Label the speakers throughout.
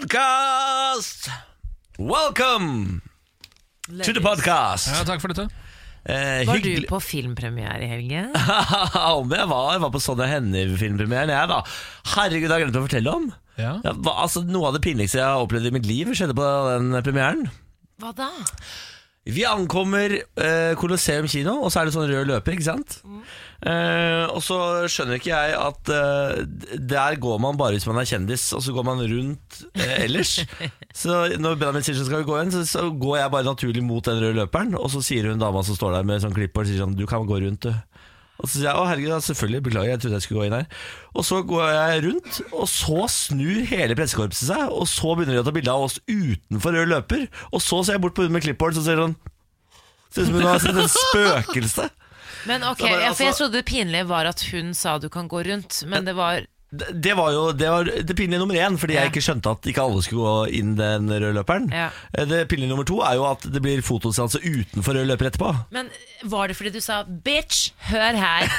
Speaker 1: Podcast! Welcome to the podcast!
Speaker 2: Ja, takk for dette.
Speaker 1: Eh,
Speaker 3: Var du
Speaker 1: hyggelig-
Speaker 3: på filmpremiere i helgen?
Speaker 1: Om jeg var, jeg var på Sonja Hennie-filmpremieren, jeg, da. Herregud, det har jeg glemt å fortelle om.
Speaker 2: Ja.
Speaker 1: Ja, hva- altså, noe av det pinligste jeg har opplevd i mitt liv, skjedde på den premieren.
Speaker 3: Hva da?
Speaker 1: Vi ankommer eh, Colosseum kino, og så er det sånn rød løper, ikke sant? Eh, og så skjønner ikke jeg at eh, d- der går man bare hvis man er kjendis, og så går man rundt eh, ellers. så når Benjamin sier så skal vi gå inn, så, så går jeg bare naturlig mot den røde løperen, og så sier hun dama som står der med sånn klippbord, sier sånn du kan gå rundt, du. Og så sier jeg å herregud, ja, selvfølgelig, beklager, jeg trodde jeg skulle gå inn her. Og så går jeg rundt, og så snur hele pressekorpset seg, og så begynner de å ta bilde av oss utenfor rød løper. Og så ser jeg bort på hun med klippbord, så ser hun sånn Ser ut som hun har sett et spøkelse.
Speaker 3: Men ok,
Speaker 1: Det var
Speaker 3: ja, for
Speaker 1: altså-
Speaker 3: Jeg
Speaker 1: trodde
Speaker 3: trodde det pinlige var at hun sa du kan gå rundt, men det var
Speaker 1: Det det var jo det, var det pinlige nummer én, fordi jeg
Speaker 3: Ja.
Speaker 1: ikke skjønte at ikke alle skulle gå inn den røde løperen. Eh,
Speaker 3: Ja.
Speaker 1: Det pinlige nummer to er jo at det blir fotoseanse utenfor rød løper etterpå.
Speaker 3: Men var det fordi du sa 'bitch, hør her'?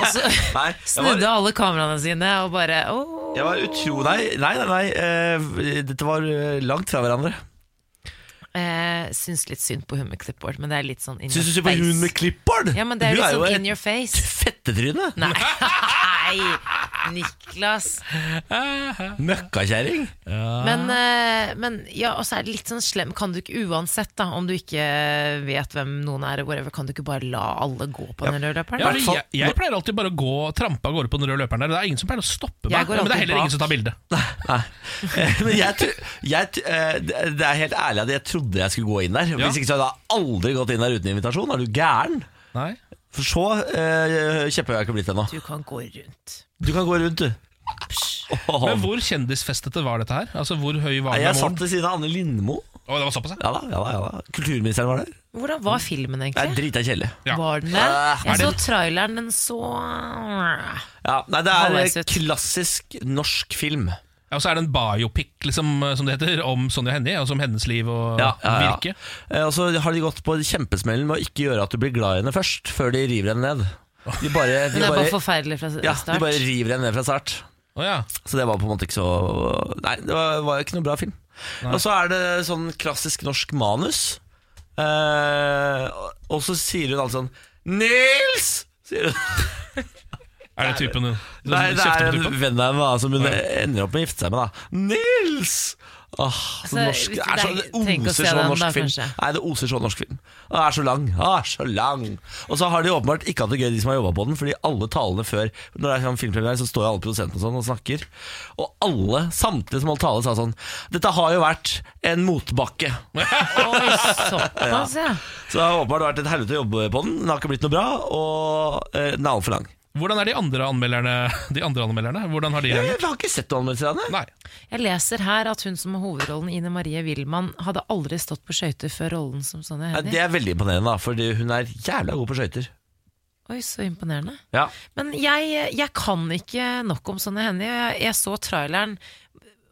Speaker 3: Og så
Speaker 1: Nei, jeg
Speaker 3: snudde
Speaker 1: var,
Speaker 3: alle kameraene sine og bare åh.
Speaker 1: jeg var utro... Nei, nei, nei. nei eh, dette var eh, langt fra hverandre.
Speaker 3: Eh, syns litt synd på hun med clipboard, men det er litt sånn in
Speaker 1: Syns du
Speaker 3: your
Speaker 1: synd på hun med
Speaker 3: face.
Speaker 1: klippbord?
Speaker 3: Ja, men det er
Speaker 1: hun
Speaker 3: litt
Speaker 1: jo
Speaker 3: sånn
Speaker 1: et
Speaker 3: in your face.
Speaker 1: fettetryne.
Speaker 3: Nei, Nei, Niklas.
Speaker 1: Møkkakjerring.
Speaker 3: Men,
Speaker 2: Ah.
Speaker 3: eh, men ja, og så er det litt sånn slem Kan du ikke uansett, da, om du ikke vet hvem noen er, og whatever, kan du ikke bare la alle gå på den røde løperen?
Speaker 2: Ja,
Speaker 1: hvert
Speaker 2: fordi
Speaker 1: fall-
Speaker 2: jeg, jeg pleier alltid bare å gå trampe av gårde på den røde løperen der. Det er ingen som pleier å stoppe meg.
Speaker 3: Jeg går
Speaker 2: Men det er
Speaker 3: alltid
Speaker 2: heller
Speaker 3: bak.
Speaker 2: ingen som tar bilde.
Speaker 1: Nei. Eh, Men jeg, tr- jeg, tr- eh, det det er helt ærlig at jeg trodde jeg skulle gå inn der.
Speaker 2: Ja.
Speaker 1: Hvis ikke så hadde jeg aldri gått inn der uten invitasjon. Er du gæren?
Speaker 2: Nei.
Speaker 1: For så eh, kjepphøy har jeg ikke blitt ennå.
Speaker 3: Du kan gå rundt.
Speaker 1: Du kan gå rundt, du. Åh.
Speaker 2: Men hvor kjendisfestete var dette her? Altså, Hvor høy var
Speaker 1: Nei,
Speaker 2: den?
Speaker 1: jeg satt ved siden av Anne Lindmo.
Speaker 2: Å, det var såpass, ja.
Speaker 1: Ja da, ja da, ja da. Kulturministeren var der.
Speaker 3: Hvordan var filmen,
Speaker 1: Nei,
Speaker 3: egentlig?
Speaker 1: Drita kjedelig.
Speaker 2: Ja.
Speaker 3: Var den det?
Speaker 1: Ah,
Speaker 2: er
Speaker 3: Jeg så
Speaker 2: det-
Speaker 3: traileren, den så
Speaker 1: Ja, nei, det er
Speaker 3: Halvveis
Speaker 1: eh,
Speaker 3: ut.
Speaker 1: klassisk norsk film.
Speaker 2: Ja, Og så er det en biopic, liksom, eh, som det heter, om Sonja Hennie, altså om hennes liv og virke.
Speaker 1: Eh, Og så har de gått på kjempesmellen med å ikke gjøre at du blir glad i henne først, før de river henne ned. De bare, de
Speaker 3: Den er bare
Speaker 1: bare,
Speaker 3: forferdelig fra
Speaker 1: ja, de
Speaker 3: start.
Speaker 1: bare river henne ned fra start.
Speaker 2: Å ja.
Speaker 1: Så det var på en måte ikke så Nei, det var, var ikke noe bra film. Og så er det sånn klassisk norsk manus. Eh, og- og så sier hun alltid sånn Nils! Sier hun.
Speaker 2: Er sånn det typen hun
Speaker 1: Nei, det er en
Speaker 2: tuppen?
Speaker 1: venn av henne da, som hun ender opp med å gifte seg med. da Nils! Åh, så
Speaker 3: Altså,
Speaker 1: norsk, det, er så, det
Speaker 3: trenger ikke å
Speaker 1: oser
Speaker 3: se
Speaker 1: sånn
Speaker 3: den
Speaker 1: norsk
Speaker 3: da,
Speaker 1: film.
Speaker 3: kanskje.
Speaker 1: Nei, det oser sånn norsk film. Og det er så lang. Ah, så lang. Og så har de åpenbart ikke hatt det gøy, de som har jobba på den, fordi alle talene før Når det er sånn filmpremiere, så står jo alle produsentene og sånn og snakker. Og alle, samtlige som holdt tale, sa sånn Dette har jo vært en motbakke.
Speaker 3: Oi, såpass, ja.
Speaker 1: Så det har åpenbart vært et helvete å jobbe på den. Den har ikke blitt noe bra, og eh, den er altfor lang.
Speaker 2: Hvordan er de andre anmelderne? De andre anmelderne? Hvordan har de
Speaker 1: Jeg,
Speaker 2: reagert?
Speaker 1: har ikke sett noen anmeldelser av den. jeg.
Speaker 2: Nei.
Speaker 3: Jeg leser her at hun som har hovedrollen, Ine Marie Wilman, hadde aldri stått på skøyter før rollen som Sonja
Speaker 1: Ja, Det
Speaker 3: Hennie.
Speaker 1: er veldig imponerende, da, fordi hun er jævla god på skøyter.
Speaker 3: Oi, så imponerende.
Speaker 1: Ja.
Speaker 3: Men jeg, jeg kan ikke nok om Sonja Hennie. Jeg, jeg så traileren,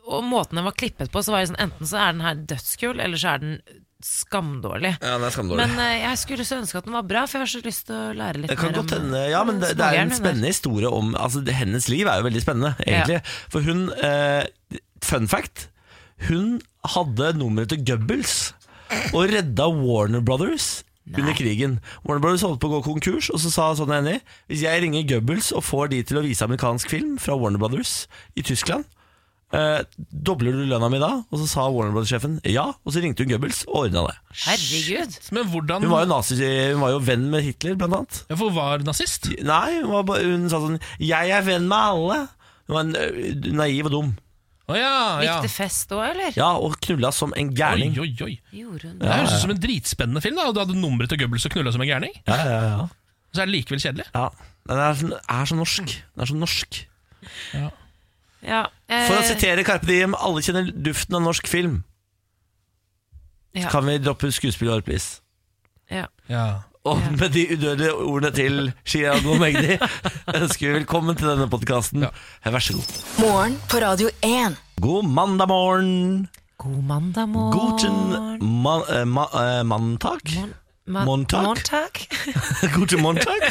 Speaker 3: og måten den var klippet på, så var jeg sånn enten så er den her dødskul, eller så er den skamdårlig.
Speaker 1: den er skamdårlig.
Speaker 3: Men eh, jeg skulle så ønske at den var bra, for jeg har så lyst til å lære litt
Speaker 1: det kan
Speaker 3: mer om
Speaker 1: godt hende, ja, men det, det er
Speaker 3: smugeren,
Speaker 1: en
Speaker 3: hun
Speaker 1: spennende historie om altså, det- Hennes liv er jo veldig spennende, egentlig. For hun eh, Fun fact. Hun hadde nummeret til Goebbels og redda Warner Brothers under krigen. Warner Brothers holdt på å gå konkurs, og så sa sånn Henny Hvis jeg ringer Goebbels og får de til å vise amerikansk film fra Warner Brothers i Tyskland Eh, dobler du lønna mi da? Og så sa Warner Brothers-sjefen ja. Og så ringte hun Goebbels og ordna det.
Speaker 3: Herregud.
Speaker 2: Men hvordan
Speaker 1: Hun var jo, nazi, hun var jo venn med Hitler, blant annet.
Speaker 2: Ja, For hun var nazist?
Speaker 1: Nei, hun, var bare, hun sa sånn 'Jeg er venn med alle'. Hun var ø, naiv og dum.
Speaker 2: Å ja, ja.
Speaker 3: Gikk det fest òg, eller?
Speaker 1: Ja, og knulla som en
Speaker 2: Oi,
Speaker 1: gærning.
Speaker 2: oi, oi.
Speaker 3: Gjorde hun
Speaker 2: Det
Speaker 3: det?
Speaker 2: høres ut som en dritspennende film. da Og Du hadde nummeret til Goebbels og knulla som en gærning.
Speaker 1: Ja, ja, ja.
Speaker 2: Og så er det likevel kjedelig.
Speaker 1: ja. Den er, sånn- er så norsk. Den er så norsk.
Speaker 3: Ja, eh,
Speaker 1: For å sitere Carpe Diem, alle kjenner duften av norsk film.
Speaker 3: Ja.
Speaker 1: Kan vi droppe skuespill og orpris?
Speaker 3: ja.
Speaker 2: Ja.
Speaker 1: Og med de udødelige ordene til Shiad Mehgdi ønsker vi velkommen til denne podkasten.
Speaker 2: Ja.
Speaker 1: Vær så god.
Speaker 4: Morgen på Radio 1.
Speaker 1: God mandag morgen.
Speaker 3: God mandag morgen.
Speaker 1: Guten man, eh, ma, eh, manntag.
Speaker 3: Ma-
Speaker 1: Montag.
Speaker 3: Montag.
Speaker 1: Guten Montag.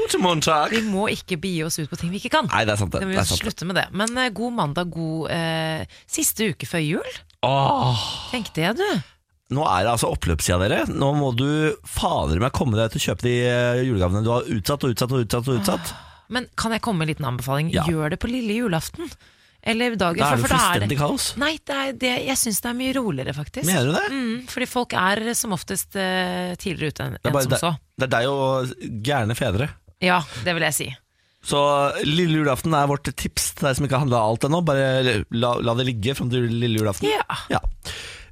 Speaker 1: Guten Montag.
Speaker 3: Vi må ikke begi oss ut på ting vi ikke kan.
Speaker 1: Nei, det er sant, det.
Speaker 3: Da må
Speaker 1: det
Speaker 3: vi
Speaker 1: er sant, det.
Speaker 3: slutte med det. Men eh, god mandag, god eh, siste uke før jul,
Speaker 1: Åh.
Speaker 3: tenkte jeg, du.
Speaker 1: Nå er det altså oppløpssida, dere. Nå må du fader meg komme deg ut og kjøpe de eh, julegavene du har utsatt og utsatt og utsatt. og utsatt.
Speaker 3: Men kan jeg komme med en liten anbefaling?
Speaker 1: Ja.
Speaker 3: Gjør det på lille julaften. Eller dagen
Speaker 1: Da er
Speaker 3: før,
Speaker 1: det
Speaker 3: for da er
Speaker 1: fullstendig
Speaker 3: det
Speaker 1: kaos.
Speaker 3: Nei, det er det, jeg syns det er mye roligere, faktisk.
Speaker 1: Mener du det?
Speaker 3: Mm, fordi folk er eh, som oftest eh, tidligere ute enn
Speaker 1: Det er,
Speaker 3: enn
Speaker 1: bare,
Speaker 3: som så.
Speaker 1: det, det er deg og gærne fedre.
Speaker 3: Ja, det vil jeg si.
Speaker 1: Så lille julaften er vårt tips til deg som ikke har handla alt ennå. Bare la, la det ligge fram til lille julaften.
Speaker 3: Ja.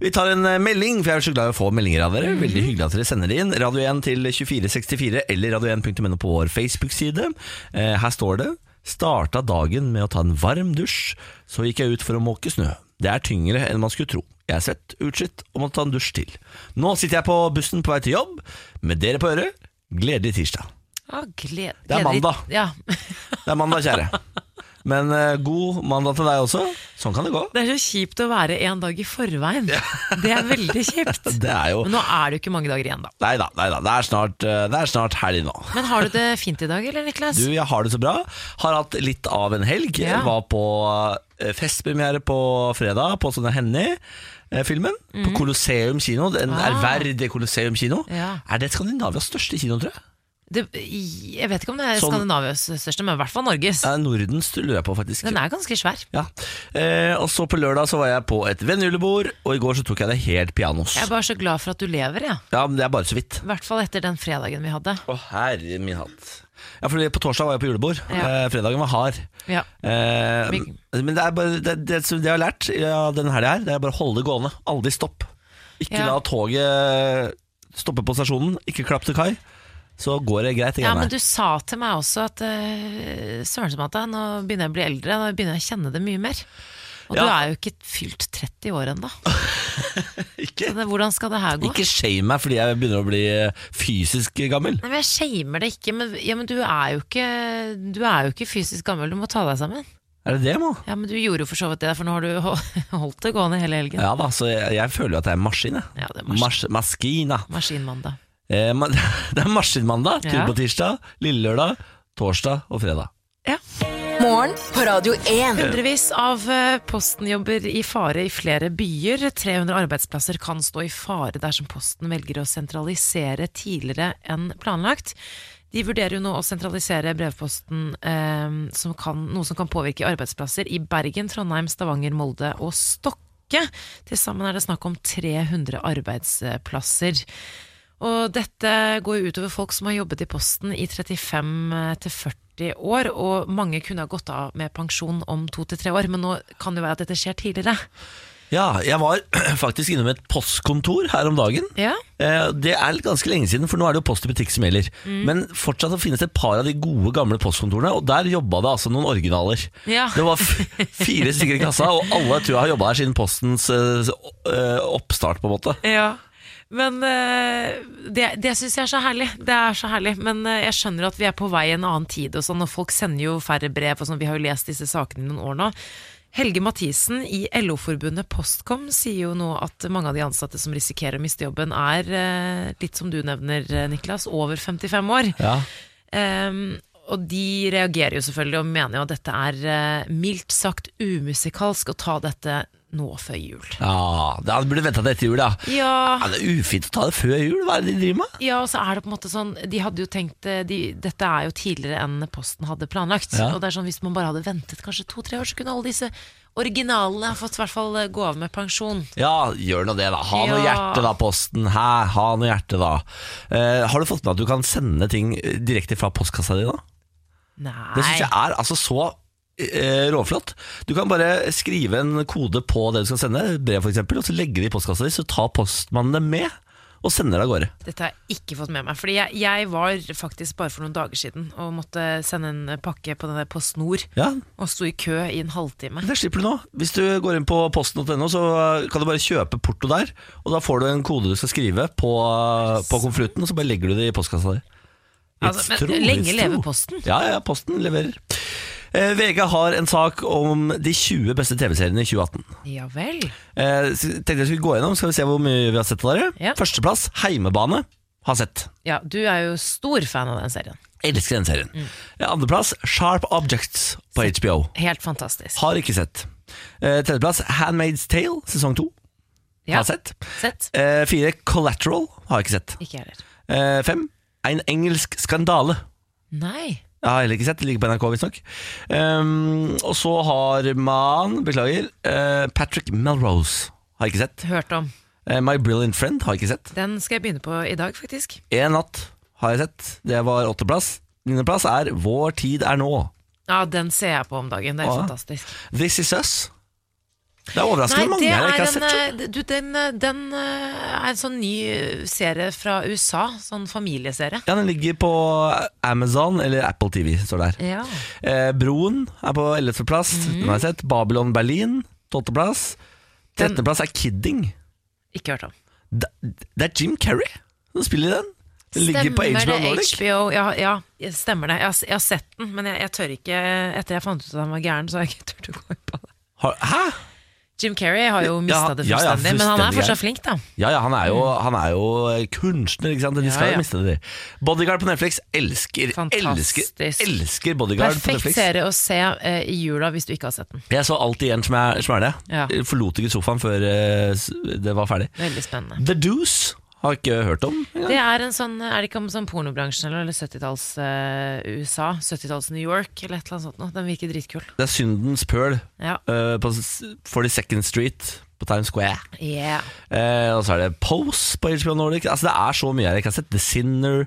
Speaker 1: Vi tar en eh, melding, for jeg er så glad i å få meldinger av dere. Veldig hyggelig at dere sender det inn. Radio 1 til 2464 eller radio1.no på vår Facebook-side. Eh, her står det Starta dagen med å ta en varm dusj, så gikk jeg ut for å måke snø. Det er tyngre enn man skulle tro. Jeg er svett, utslitt og må ta en dusj til. Nå sitter jeg på bussen på vei til jobb, med dere på øret. Gledelig tirsdag.
Speaker 3: Ja, gled,
Speaker 1: Det er
Speaker 3: gledelig-
Speaker 1: mandag.
Speaker 3: Ja.
Speaker 1: Det er mandag, kjære. Men eh, god mandag til deg også. Sånn kan det gå.
Speaker 3: Det er så kjipt å være en dag i forveien. Det er veldig kjipt.
Speaker 1: Det er jo
Speaker 3: Men nå er det jo ikke mange dager igjen, da.
Speaker 1: Nei da, nei da. Det er snart, eh, det er snart helg nå.
Speaker 3: Men har du det fint i dag, eller, Niklas?
Speaker 1: Du, jeg har det så bra. Har hatt litt av en helg.
Speaker 3: Ja.
Speaker 1: Var på eh, festpremiere på fredag på sånne Henny-filmen. På Colosseum kino. En
Speaker 3: Mhm. Ah.
Speaker 1: ærverdig Colosseum kino.
Speaker 3: Ja.
Speaker 1: Er det Skandinavias største kino, tror jeg?
Speaker 3: Det, jeg vet ikke om det er
Speaker 1: Sånn-
Speaker 3: Eh, Skandinavias største, men i hvert fall Norges.
Speaker 1: Eh, Nordens lurer jeg på, faktisk.
Speaker 3: Den er ganske svær.
Speaker 1: Ja. Eh, og så på lørdag så var jeg på et vennejulebord, og i går så tok jeg det helt pianos.
Speaker 3: Jeg er bare så glad for at du lever, jeg.
Speaker 1: Ja, men det er bare så vidt.
Speaker 3: I hvert fall etter den fredagen vi hadde.
Speaker 1: Å, herre min hatt. Ja, fordi på torsdag var jeg på julebord.
Speaker 3: Ja.
Speaker 1: Eh, fredagen var hard.
Speaker 3: Ja.
Speaker 1: Eh,
Speaker 3: Vi-
Speaker 1: men det er bare det, det som jeg har lært ja, denne helga her, det er bare å holde det gående. Aldri stopp. Ikke
Speaker 3: Ja.
Speaker 1: la toget stoppe på stasjonen, ikke klapp til kai. Så går det greit. det
Speaker 3: ja,
Speaker 1: greiene
Speaker 3: men
Speaker 1: her.
Speaker 3: du sa til meg også at uh, søren som at det er, nå begynner jeg å bli eldre, nå begynner jeg å kjenne det mye mer. Og du
Speaker 1: Ja.
Speaker 3: er jo ikke fylt 30 år ennå.
Speaker 1: Ikke,
Speaker 3: Så det- Hvordan skal det her gå?
Speaker 1: ikke shame meg fordi jeg begynner å bli eh, fysisk gammel.
Speaker 3: Nei, men Jeg shamer det ikke, men, ja, men du, er jo ikke, du er jo ikke fysisk gammel, du må ta deg sammen.
Speaker 1: Er det det, må?
Speaker 3: Ja, Men du gjorde jo for så vidt det, for nå har du hol- holdt det gående hele helgen.
Speaker 1: Ja da, så jeg, jeg føler jo at jeg er en maskin. jeg.
Speaker 3: Ja, det er maskin.
Speaker 1: Mas maskina.
Speaker 3: Maskinmandag.
Speaker 1: Eh, ma det er maskinmandag,
Speaker 3: Ja.
Speaker 1: turbotirsdag, lille lørdag, torsdag og fredag.
Speaker 3: Ja.
Speaker 4: Morgen på Radio 1.
Speaker 3: Hundrevis av eh, Posten jobber i fare i flere byer. 300 arbeidsplasser kan stå i fare dersom Posten velger å sentralisere tidligere enn planlagt. De vurderer jo nå å sentralisere brevposten, eh, som kan, noe som kan påvirke arbeidsplasser i Bergen, Trondheim, Stavanger, Molde og Stokke. Til sammen er det snakk om 300 arbeidsplasser. Og dette går jo utover folk som har jobbet i Posten i 35 til 40 år, og mange kunne ha gått av med pensjon om to til tre år, men nå kan det jo være at dette skjer tidligere.
Speaker 1: Ja, jeg var faktisk innom et postkontor her om dagen.
Speaker 3: Ja,
Speaker 1: Eh, Det er ganske lenge siden, for nå er det jo post i butikk som gjelder.
Speaker 3: Mm.
Speaker 1: Men fortsatt så finnes det et par av de gode, gamle postkontorene, og der jobba det altså noen originaler.
Speaker 3: Ja.
Speaker 1: Det var f- fire stykker i kassa, og alle tror jeg har jobba her siden postens eh, eh, oppstart, på en måte.
Speaker 3: Ja, men eh, det, det syns jeg er så herlig. Det er så herlig. Men eh, jeg skjønner at vi er på vei i en annen tid, og sånn, og folk sender jo færre brev. Og sånn. Vi har jo lest disse sakene i noen år nå. Helge Mathisen i LO-forbundet Postkom sier jo nå at mange av de ansatte som risikerer å miste jobben, er eh, litt som du nevner, eh, Niklas, over 55 år.
Speaker 1: Ja.
Speaker 3: Ehm, og de reagerer jo selvfølgelig og mener jo at dette er eh, mildt sagt umusikalsk å ta dette nå før jul.
Speaker 1: ja da burde venta til etter jul, ja.
Speaker 3: Ja,
Speaker 1: Ja, det er ufint å ta det før jul, hva er det de driver med?
Speaker 3: Ja, og så er det på en måte sånn De hadde jo tenkt eh, de, Dette er jo tidligere enn Posten hadde planlagt.
Speaker 1: Ja.
Speaker 3: Og det er sånn Hvis man bare hadde ventet kanskje to-tre år, så kunne alle disse originalene ha fått i hvert fall eh, gå av med pensjon.
Speaker 1: Ja, gjør nå det, da. Ha noe
Speaker 3: Ja.
Speaker 1: hjerte, da, Posten. Hæ, ha noe hjerte, da. Eh, har du fått med at du kan sende ting eh, direkte fra postkassa di, da?
Speaker 3: Nei.
Speaker 1: Det syns jeg er altså så eh, råflott. Du kan bare skrive en kode på det du skal sende, et brev f.eks., og så legge det i postkassa di, så tar postmannen det med og sender det av gårde.
Speaker 3: Dette har jeg ikke fått med meg. Fordi jeg, jeg var faktisk bare for noen dager siden og måtte sende en eh, pakke på, den der, på snor.
Speaker 1: Ja,
Speaker 3: Og sto i kø i en halvtime.
Speaker 1: Det slipper du nå. Hvis du går inn på posten.no, så kan du bare kjøpe porto der, og da får du en kode du skal skrive på, på konvolutten, og så bare legger du det i postkassa di.
Speaker 3: Altså, men
Speaker 1: Livstro,
Speaker 3: lenge
Speaker 1: livstro.
Speaker 3: leve Posten.
Speaker 1: Ja, ja, Posten leverer. Eh, VG har en sak om de 20 beste TV-seriene i 2018.
Speaker 3: Ja vel.
Speaker 1: Eh, så tenkte jeg skulle gå gjennom, skal vi se hvor mye vi har sett av dere.
Speaker 3: Ja.
Speaker 1: Førsteplass, Heimebane, har sett.
Speaker 3: Ja, du er jo stor fan av den serien.
Speaker 1: Elsker den serien.
Speaker 3: Mm.
Speaker 1: Ja, Andreplass Sharp Objects på HBO.
Speaker 3: Helt fantastisk.
Speaker 1: Har ikke sett. Eh, Tredjeplass Handmaid's Tale sesong to.
Speaker 3: Ja.
Speaker 1: Har sett.
Speaker 3: Sett?
Speaker 1: Eh, fire Collateral. Har ikke sett.
Speaker 3: Ikke jeg heller.
Speaker 1: Eh, fem En engelsk skandale.
Speaker 3: Nei.
Speaker 1: Jeg har heller ikke sett, det ligger på NRK visstnok. Um, og så har man, beklager, eh, Patrick Melrose. Har ikke sett.
Speaker 3: Hørt om.
Speaker 1: Eh, My Brilliant Friend har ikke sett.
Speaker 3: Den skal jeg begynne på i dag, faktisk.
Speaker 1: Én natt har jeg sett. Det var åtteplass. Niendeplass er Vår tid er nå.
Speaker 3: Ja, den ser jeg på om dagen. Det er
Speaker 1: Ja.
Speaker 3: fantastisk.
Speaker 1: This is us. Det er overraskende mange
Speaker 3: det
Speaker 1: her jeg ikke
Speaker 3: er
Speaker 1: har sett. skjønner
Speaker 3: en, eh, du, den, eh, den eh, er en sånn ny eh, serie fra USA. Sånn familieserie.
Speaker 1: du. Ja, Den ligger på Amazon eller Apple TV, står der.
Speaker 3: Ja. Mhm.
Speaker 1: Eh, Broen er på ellevteplass. Den har jeg sett. Babylon Berlin, tolvteplass.
Speaker 3: Den-
Speaker 1: Trettendeplass er Kidding.
Speaker 3: Ikke hørt om.
Speaker 1: Det, det er Jim Carrey som spiller i den. Den ligger på HBO Nordic.
Speaker 3: det HBO? Ja, ja stemmer det. Jeg, har- jeg har sett den, men jeg, jeg tør ikke Etter jeg fant ut at han var gæren, så har jeg ikke turt å gå inn på det.
Speaker 1: Har, hæ?
Speaker 3: Jim Carrey har jo mista
Speaker 1: Ah! Ja,
Speaker 3: det
Speaker 1: ja, ja,
Speaker 3: fullstendig, men han
Speaker 1: fullstendig
Speaker 3: er fortsatt
Speaker 1: gæren.
Speaker 3: flink, da.
Speaker 1: Ja, ja, han er jo, han er jo kunstner, ikke sant? De skal
Speaker 3: Mm. Ja,
Speaker 1: jo
Speaker 3: ja.
Speaker 1: miste det. de. Bodyguard på Netflix elsker,
Speaker 3: Fantastisk.
Speaker 1: elsker, elsker Bodyguard på
Speaker 3: Perfekt
Speaker 1: Netflix.
Speaker 3: serie å se eh, i jula hvis du ikke har sett den.
Speaker 1: Jeg så alt igjen som jeg som er det.
Speaker 3: Ja.
Speaker 1: Forlot ikke sofaen før eh, s- det var ferdig.
Speaker 3: Veldig spennende.
Speaker 1: The Deuce har jeg ikke hørt om. engang.
Speaker 3: Det er en sånn, er det ikke om sånn pornobransjen eller, eller 70-talls eh, USA? 70-talls New York eller et eller annet sånt noe. Den virker dritkul.
Speaker 1: Det er Syndens pøl
Speaker 3: Ja.
Speaker 1: eh, på s- 42nd Street på Times Square.
Speaker 3: Yeah.
Speaker 1: Eh, og så er det Pose på HBO Nordic. Altså, det er så mye her jeg ikke har sett. The Sinner,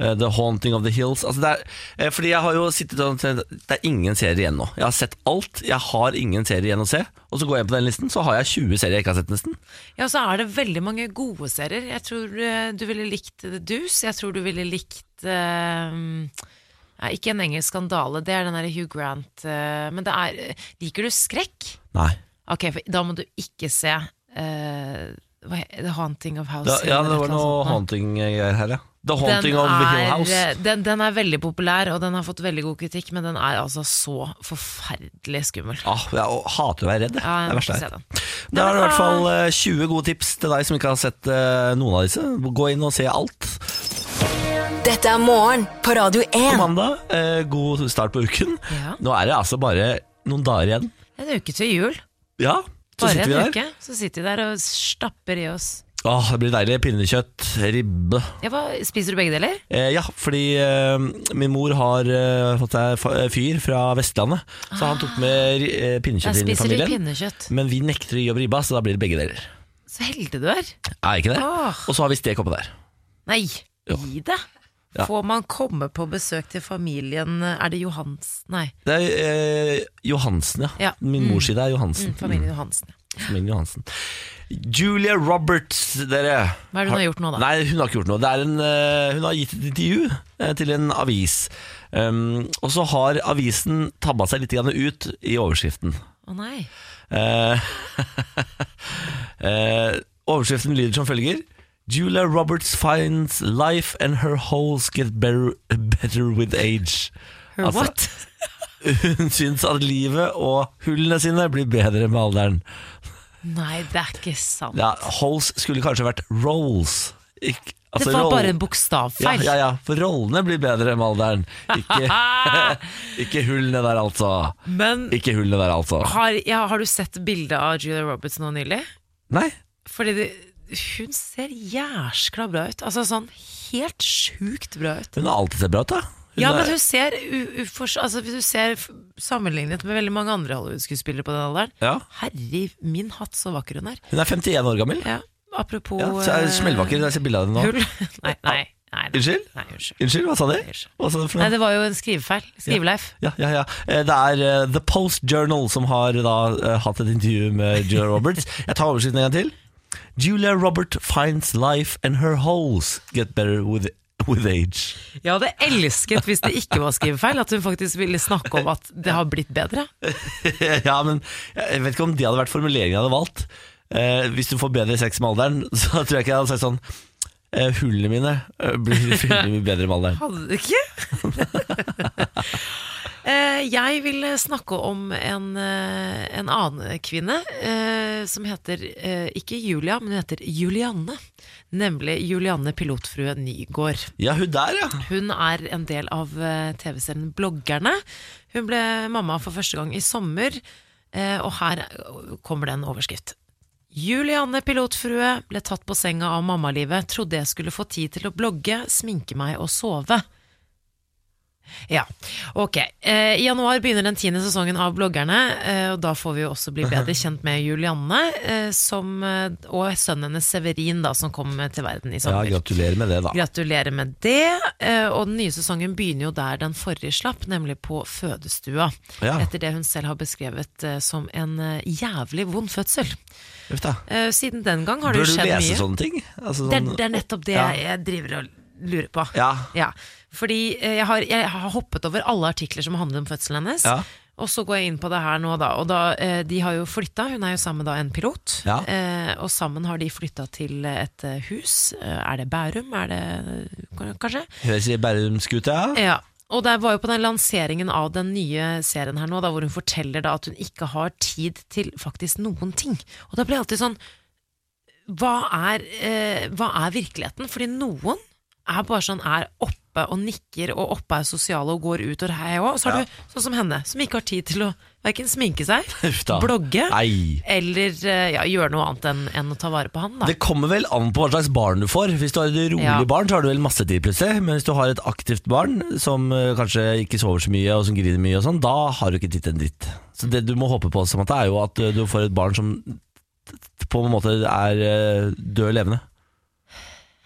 Speaker 1: eh, The Haunting of the Hills. Altså, det er, eh, fordi jeg har jo sittet og tenkt Det er ingen serier igjen nå. Jeg har sett alt. Jeg har ingen serier igjen å se. Og så går jeg inn på den listen, så har jeg 20 serier jeg ikke har sett, nesten.
Speaker 3: Ja, så er det veldig mange gode serier. Jeg tror eh, du ville likt The Deuce. Jeg tror du ville likt eh, nei, Ikke en engelsk skandale, det er den derre Hugh Grant eh, Men det er Liker du skrekk?
Speaker 1: Nei.
Speaker 3: Ok, for da må du ikke se eh, hva he- The Haunting of House
Speaker 1: Da,
Speaker 3: Hill
Speaker 1: ja,
Speaker 3: eller
Speaker 1: det
Speaker 3: et
Speaker 1: var
Speaker 3: eller annet
Speaker 1: noe
Speaker 3: sånt nå.
Speaker 1: haunting-greier her, ja. The Haunting
Speaker 3: Den
Speaker 1: of the Hill
Speaker 3: er,
Speaker 1: House.
Speaker 3: eh, den, den er veldig populær, og den har fått veldig god kritikk, men den er altså så forferdelig skummel.
Speaker 1: Ah, jeg hater å være redd, jeg.
Speaker 3: Ja,
Speaker 1: det er
Speaker 3: jeg
Speaker 1: det
Speaker 3: må
Speaker 1: verste
Speaker 3: ikke
Speaker 1: jeg
Speaker 3: se
Speaker 1: vet.
Speaker 3: den.
Speaker 1: Da er det i hvert fall eh, 20 gode tips til deg som ikke har sett eh, noen av disse. Gå inn og se alt.
Speaker 4: Dette er morgen på Radio
Speaker 1: på
Speaker 4: 1.
Speaker 1: mandag. Eh, god start på uken.
Speaker 3: Ja.
Speaker 1: Nå er det altså bare noen dager igjen.
Speaker 3: En uke til jul.
Speaker 1: Ja, så
Speaker 3: Bare
Speaker 1: sitter vi der.
Speaker 3: en uke, så sitter vi der og stapper i oss.
Speaker 1: Åh, det blir deilig. Pinnekjøtt, ribbe.
Speaker 3: Ja, hva, spiser du begge deler?
Speaker 1: Eh, ja, fordi eh, min mor har eh, fått seg fa- fyr fra Vestlandet, så han tok med ri- eh, pinnekjøtt
Speaker 3: Jeg
Speaker 1: inn i
Speaker 3: spiser litt
Speaker 1: familien.
Speaker 3: pinnekjøtt.
Speaker 1: Men vi nekter å gi opp ribba, så da blir det begge deler.
Speaker 3: Så heldig du er.
Speaker 1: Er ikke det?
Speaker 3: Åh.
Speaker 1: Og så har vi stek oppå der.
Speaker 3: Nei,
Speaker 1: Jo.
Speaker 3: gi det.
Speaker 1: Ja.
Speaker 3: Får man komme på besøk til familien Er det Johans? Nei,
Speaker 1: Det er eh, Johansen, ja.
Speaker 3: Ja. Mm.
Speaker 1: Min mors side er Johansen. Mm.
Speaker 3: familien Johansen.
Speaker 1: Familien Johansen. Julia Roberts, dere.
Speaker 3: Hva er det hun har gjort nå, da?
Speaker 1: Nei, hun har ikke gjort noe. Det er en, eh, hun har gitt et intervju eh, til en avis. Um, og så har avisen tabba seg litt grann ut i overskriften.
Speaker 3: Å nei.
Speaker 1: Eh, eh, overskriften lyder som følger Julia Roberts finds life and her holes get better, better with age.
Speaker 3: Her
Speaker 1: Altså,
Speaker 3: what?
Speaker 1: Hun syns at livet og hullene sine blir bedre med alderen.
Speaker 3: Nei, det er ikke sant.
Speaker 1: Ja, holes skulle kanskje vært rolls. Ikk- altså
Speaker 3: det var
Speaker 1: roll-
Speaker 3: bare en
Speaker 1: Ja,
Speaker 3: bokstavfeil.
Speaker 1: ja, ja, for rollene blir bedre med alderen. Ikke,
Speaker 3: Ah,
Speaker 1: ikke hullene der, altså.
Speaker 3: men
Speaker 1: Ikke hullene der, altså.
Speaker 3: har, ja, har du sett bildet av Julia Roberts nå nylig?
Speaker 1: Nei.
Speaker 3: Fordi det, hun ser jæskla bra ut. Altså sånn helt sjukt bra ut.
Speaker 1: Hun har alltid sett bra ut, da. Hun
Speaker 3: Ja,
Speaker 1: er-
Speaker 3: men hun ser, u ufor, altså, hvis du ser f- sammenlignet med veldig mange andre Hollywood-skuespillere på den alderen
Speaker 1: ja.
Speaker 3: Herre min hatt, så vakker hun er.
Speaker 1: hun er 51 år gammel.
Speaker 3: Ja, apropos
Speaker 1: Ja, så er
Speaker 3: eh,
Speaker 1: hun Smellvakker. Jeg ser bilde av henne nå.
Speaker 3: Hull. Nei, nei, nei, nei.
Speaker 1: Unnskyld?
Speaker 3: Nei, unnskyld.
Speaker 1: Unnskyld, hva sa de?
Speaker 3: Unnskyld.
Speaker 1: Hva sa de for
Speaker 3: Nei,
Speaker 1: noe?
Speaker 3: det var jo en skrivefeil. Skriveleif.
Speaker 1: Ja, ja, ja. Eh, Det er eh, The Post Journal som har da eh, hatt et intervju med Julia Roberts. Jeg tar overskriften en gang til. Julia Robert finds life and her holes get better with, with age.
Speaker 3: Jeg hadde elsket hvis det ikke var skrivefeil, at hun faktisk ville snakke om at det har blitt bedre.
Speaker 1: Ja, men jeg vet ikke om det hadde vært formuleringen jeg hadde valgt. Eh, hvis du får bedre sex med alderen, så tror jeg ikke jeg hadde sagt sånn eh, Hullene mine eh, blir veldig mye bedre med alderen.
Speaker 3: Hadde du ikke? Eh, Jeg vil snakke om en, eh, en annen kvinne eh, som heter eh, ikke Julia, men hun heter Julianne. Nemlig Julianne Pilotfrue Nygård.
Speaker 1: Ja, hun der, ja.
Speaker 3: Hun er en del av eh, TV-serien Bloggerne. Hun ble mamma for første gang i sommer, eh, og her kommer det en overskrift. Julianne Pilotfrue ble tatt på senga av mammalivet, trodde jeg skulle få tid til å blogge, sminke meg og sove. Ja, ok. Eh, I januar begynner den tiende sesongen av Bloggerne, eh, og da får vi jo også bli bedre kjent med Julianne eh, som, eh, og sønnen hennes Severin, da, som kom til verden i
Speaker 1: ja
Speaker 3: sommer.
Speaker 1: gratulerer med det, da.
Speaker 3: Gratulerer med det. eh, Og den nye sesongen begynner jo der den forrige slapp, nemlig på fødestua.
Speaker 1: Ja.
Speaker 3: Etter det hun selv har beskrevet eh, som en eh, jævlig vond fødsel.
Speaker 1: Uff da.
Speaker 3: Eh, Siden den gang har det
Speaker 1: Bør du
Speaker 3: jo skjedd
Speaker 1: lese
Speaker 3: mye.
Speaker 1: sånne ting? Altså,
Speaker 3: Det,
Speaker 1: sånn,
Speaker 3: er- det er nettopp det
Speaker 1: Ja.
Speaker 3: jeg driver og lurer på.
Speaker 1: Ja.
Speaker 3: Fordi eh, jeg har, jeg har hoppet over alle artikler som handler om fødselen hennes.
Speaker 1: Ja.
Speaker 3: Og så går jeg inn på det her nå, da. Og da, eh, de har jo flytta, hun er jo sammen med da en pilot.
Speaker 1: Ja.
Speaker 3: Eh, og sammen har de flytta til et eh, hus. Eh, Er det Bærum? Er det kanskje?
Speaker 1: Høres i Bærumskuta, ja.
Speaker 3: Ja, og det var jo på den lanseringen av den nye serien her nå, da, hvor hun forteller da at hun ikke har tid til faktisk noen ting. Og da ble jeg alltid sånn hva er, eh, hva er virkeligheten? Fordi noen er bare sånn er oppe og nikker, og oppe er sosiale og går ut og hei òg. Og så har
Speaker 1: Ja.
Speaker 3: du sånn som henne, som ikke har tid til å verken sminke seg,
Speaker 1: Uff da.
Speaker 3: blogge
Speaker 1: Nei.
Speaker 3: eller eh, ja, gjøre noe annet enn, enn å ta vare på han. Da.
Speaker 1: Det kommer vel an på hva slags barn du får. Hvis du har et rolig
Speaker 3: Ja.
Speaker 1: barn, så har du vel masse tid plutselig. Men hvis du har et aktivt barn som eh, kanskje ikke sover så mye og som griner mye, og sånn, da har du ikke tid til en dritt. Så det du må håpe på, som at det er jo at eh, du får et barn som på en måte er eh, død levende.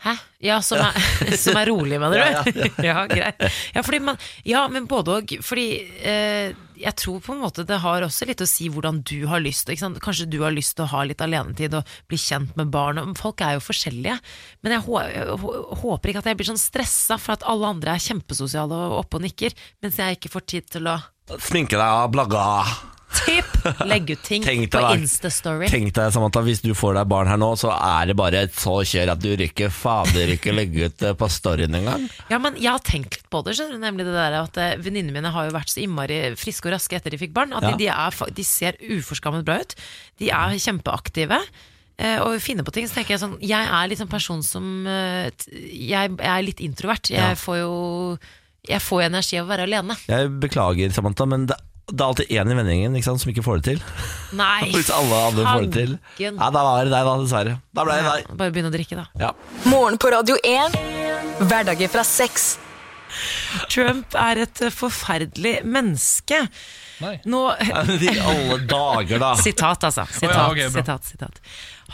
Speaker 3: Hæ? Ja, som er, som er rolig, mener du? Ja, greit. Ja, fordi man, ja, men både og. Fordi eh, jeg tror på en måte det har også litt å si hvordan du har lyst. Ikke sant? Kanskje du har lyst til å ha litt alenetid og bli kjent med barn. og Folk er jo forskjellige. Men jeg, hå jeg hå- håper ikke at jeg blir sånn stressa for at alle andre er kjempesosiale og oppe og nikker, mens jeg ikke får tid til å
Speaker 1: Sminke deg og blagge.
Speaker 3: typ legge ut ting
Speaker 1: Tenk deg
Speaker 3: på
Speaker 1: da.
Speaker 3: Insta-story.
Speaker 1: Tenk deg, Samantha, hvis du får deg barn her nå, så er det bare et så kjør at du rykker fader ikke legge ut eh, på storyen engang.
Speaker 3: Ja, men jeg har tenkt litt på det, skjønner du, nemlig det der at eh, venninnene mine har jo vært så innmari friske og raske etter de fikk barn, at
Speaker 1: Ja.
Speaker 3: de, de, er, fa- de ser uforskammet bra ut, de er kjempeaktive, eh, og finner på ting, så tenker jeg sånn, jeg er litt sånn person som, eh, t- jeg, jeg er litt introvert, jeg
Speaker 1: Ja.
Speaker 3: får jo, jeg får jo energi av å være alene.
Speaker 1: Jeg beklager, Samantha, men det, det er alltid én i vennegjengen ikke sant, som ikke får det til.
Speaker 3: Nei,
Speaker 1: Hvis alle andre får det til.
Speaker 3: fanken.
Speaker 1: Ja, da var det deg, da, dessverre. Da ble det
Speaker 3: Ja,
Speaker 1: deg.
Speaker 3: Bare begynne å drikke da
Speaker 1: Ja.
Speaker 4: Morgen på Radio 1. Hverdager fra seks.
Speaker 3: Trump er et eh, forferdelig menneske
Speaker 2: Nei.
Speaker 3: Nå,
Speaker 1: I alle dager, da.
Speaker 3: Sitat, altså.
Speaker 2: Å
Speaker 3: Sitat,
Speaker 2: ja, ok, bra.
Speaker 3: sitat, sitat.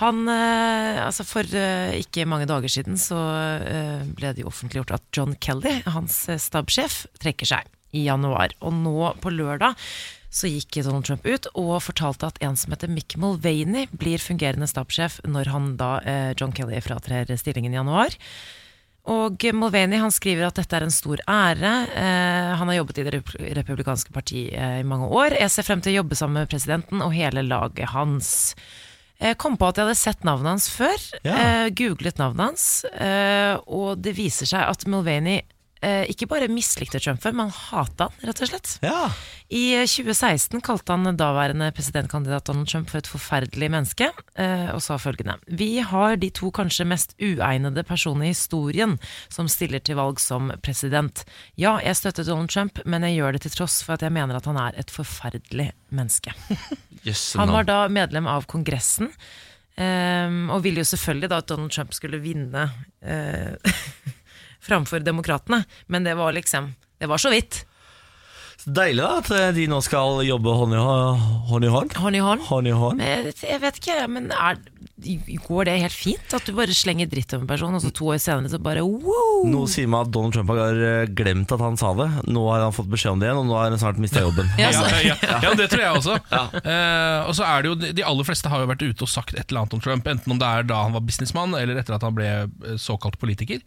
Speaker 3: Han, eh, altså for eh, ikke mange dager siden så eh, ble det jo offentliggjort at John Kelly, hans eh, stabssjef, trekker seg i januar. Og nå på lørdag så gikk Donald Trump ut og fortalte at en som heter Mick Mulvaney blir fungerende stabssjef når han da, eh, John Kelly fratrer stillingen i januar. Og Mulvaney han skriver at dette er en stor ære. Eh, han har jobbet i Det rep- republikanske partiet eh, i mange år. Jeg ser frem til å jobbe sammen med presidenten og hele laget hans. Jeg kom på at jeg hadde sett navnet hans før.
Speaker 1: Ja.
Speaker 3: Eh, googlet navnet hans. Eh, og det viser seg at Mulvaney eh, ikke bare mislikte Trump før, men hata han, rett og slett.
Speaker 1: Ja.
Speaker 3: I eh, 2016 kalte han daværende presidentkandidat Donald Trump for et forferdelig menneske, eh, og sa følgende Vi har de to kanskje mest uegnede personene i historien som stiller til valg som president. Ja, jeg støtter Donald Trump, men jeg gjør det til tross for at jeg mener at han er et forferdelig menneske.
Speaker 1: Jøsse
Speaker 3: Han
Speaker 1: navn.
Speaker 3: var da medlem av Kongressen, ehm, og ville jo selvfølgelig da at Donald Trump skulle vinne eh, framfor demokratene, men det var liksom Det var så vidt.
Speaker 1: Så Deilig da at eh, de nå skal jobbe hånd i hå- hånd. i hånd.
Speaker 3: Hånd i hånd.
Speaker 1: Hånd i hånd.
Speaker 3: Men Jeg jeg vet ikke, men er, går det helt fint? At du bare slenger dritt om en person, og så to år senere så bare wow!
Speaker 1: Nå sier meg at Donald Trump har eh, glemt at han sa det. Nå har han fått beskjed om det igjen, og nå har han snart mista jobben.
Speaker 3: Ja,
Speaker 2: Ja,
Speaker 3: så,
Speaker 2: ja, ja. ja, det tror jeg også. Eh, og så er det jo, De aller fleste har jo vært ute og sagt et eller annet om Trump, enten om det er da han var businessmann, eller etter at han ble
Speaker 1: Mm.
Speaker 2: eh, såkalt politiker.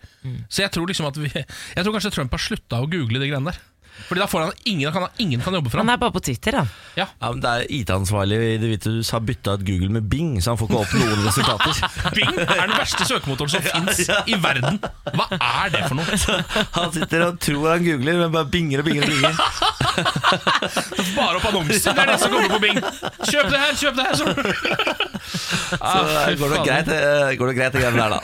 Speaker 2: Så jeg tror liksom at vi, jeg tror kanskje Trump har slutta å google de greiene der. Fordi da får han ingen, kan, ingen kan jobbe for ham.
Speaker 3: Han er bare på Twitter, han.
Speaker 2: Ja.
Speaker 1: Ja, men det er IT-ansvarlig i Det hvite hus har bytta ut Google med Bing, så han får ikke opp noen resultater.
Speaker 2: Bing er den verste søkemotoren som fins i verden. Hva er det for noe?
Speaker 1: Han sitter og tror han googler, men bare binger og binger. og binger
Speaker 2: Bare opp annonser, det er det som kommer på Bing. Kjøp det her, kjøp det her! Så, Ah,
Speaker 1: Så eh, går det nok greit, eh, går det greit det greiene der, da.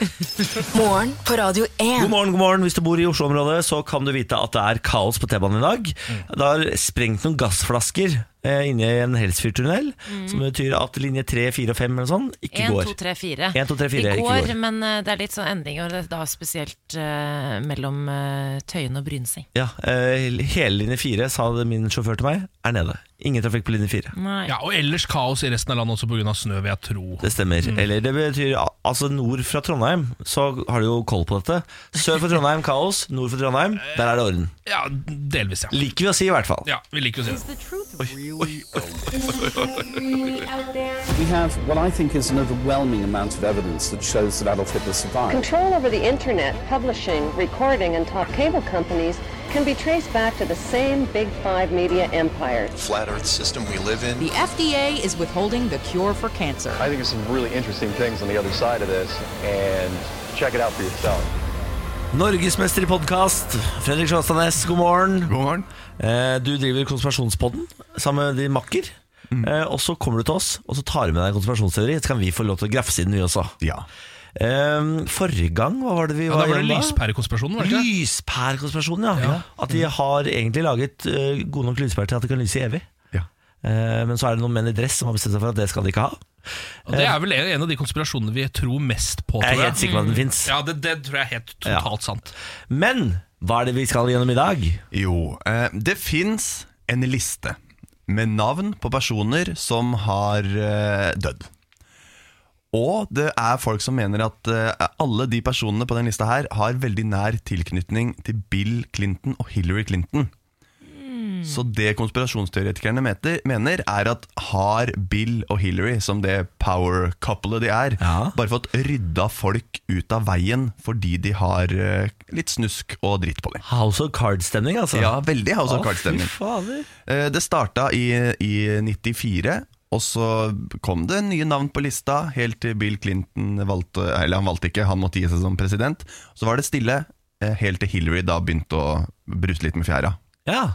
Speaker 4: Morgen på Radio
Speaker 1: God
Speaker 4: 1.
Speaker 1: morgen, god morgen. Hvis du bor i Oslo-området, så kan du vite at det er kaos på T-banen i dag. Det har sprengt noen gassflasker eh, inne i en Helsfyrtunnel, som betyr at linje 3, 4 og 5 eller sånn ikke
Speaker 3: 1,
Speaker 1: går.
Speaker 3: 2, 3, 4.
Speaker 1: En, to, Mm. tre, fire,
Speaker 3: De
Speaker 1: ikke
Speaker 3: går,
Speaker 1: går.
Speaker 3: men eh, det er litt sånn endringer, og det er da spesielt eh, mellom eh, Tøyen og Brynseng.
Speaker 1: Ja, eh, hele linje 4, sa det min sjåfør til meg, er nede. Ingen trafikk på linje 4.
Speaker 3: Nei.
Speaker 2: ja, og ellers kaos i resten av landet også pga. snø, vil jeg tro.
Speaker 1: Det stemmer. Eller det betyr al- altså nord fra Trondheim, så har du jo koll på dette. Sør for Trondheim kaos, nord for Trondheim, der er det orden.
Speaker 2: Ja, delvis, ja.
Speaker 1: Liker vi å si i hvert fall.
Speaker 2: Ja, Vi liker å si det.
Speaker 5: We have what I think is an overwhelming amount of evidence that shows that Adolf Hitler survived.
Speaker 6: Control over the internet, publishing, recording, and top cable companies can be traced back to the same Big Five media empires.
Speaker 7: flat earth system we live in.
Speaker 8: The FDA is withholding the cure for cancer.
Speaker 9: I think there's some really interesting things on the other side of this, and check it out for yourself.
Speaker 1: Norgesmester i podkast, Fredrik Sjåstadnes, god morgen.
Speaker 10: God morgen.
Speaker 1: Eh, Du driver Konspirasjonspodden sammen med din makker.
Speaker 10: Mm.
Speaker 1: Eh, Og så kommer du til oss og så tar du med deg en konspirasjonsteori. Så kan vi få lov til å grafse i den, vi også.
Speaker 10: Ja.
Speaker 1: Eh, Forrige gang, hva var det vi
Speaker 2: Ja, da
Speaker 1: var
Speaker 2: var det
Speaker 1: igjennom
Speaker 2: lyspærekonspirasjonen, var det ikke? det?
Speaker 1: Lyspærekonspirasjonen, ja.
Speaker 2: Ja.
Speaker 1: At de har egentlig laget eh, gode nok lyspærer til at det kan lyse evig.
Speaker 10: Ja.
Speaker 1: Eh, Men så er det noen menn i dress som har bestemt seg for at det skal de ikke ha.
Speaker 2: Og Det er vel en av de konspirasjonene vi tror mest på,
Speaker 1: Eh. Jeg
Speaker 2: tror
Speaker 1: er helt
Speaker 2: jeg. Mm.
Speaker 1: sikker på at den fins.
Speaker 2: Ja, det, det tror jeg er helt totalt sant.
Speaker 1: Eh, Men hva er det vi skal gjennom i dag?
Speaker 10: Jo, eh, det fins en liste med navn på personer som har eh, dødd. Og det er folk som mener at eh, alle de personene på den lista her har veldig nær tilknytning til Bill Clinton og Hillary Clinton.
Speaker 1: Mm.
Speaker 10: Så det konspirasjonsteoretikerne meter, mener, er at har Bill og Hillary, som det power couplet de er,
Speaker 1: Ja.
Speaker 10: bare fått rydda folk ut av veien fordi de har eh, litt snusk og dritt på dem?
Speaker 1: House of Cards-stemning, altså.
Speaker 10: Ja, veldig House
Speaker 1: Å,
Speaker 10: of Cards-stemning.
Speaker 1: Fy fader.
Speaker 10: Eh, Det starta i, i 94, og så kom det nye navn på lista, helt til Bill Clinton valgte Eller han valgte ikke, han måtte gi seg som president. Så var det stille, eh, helt til Hillary da begynte å bruse litt med fjæra.
Speaker 1: Ja.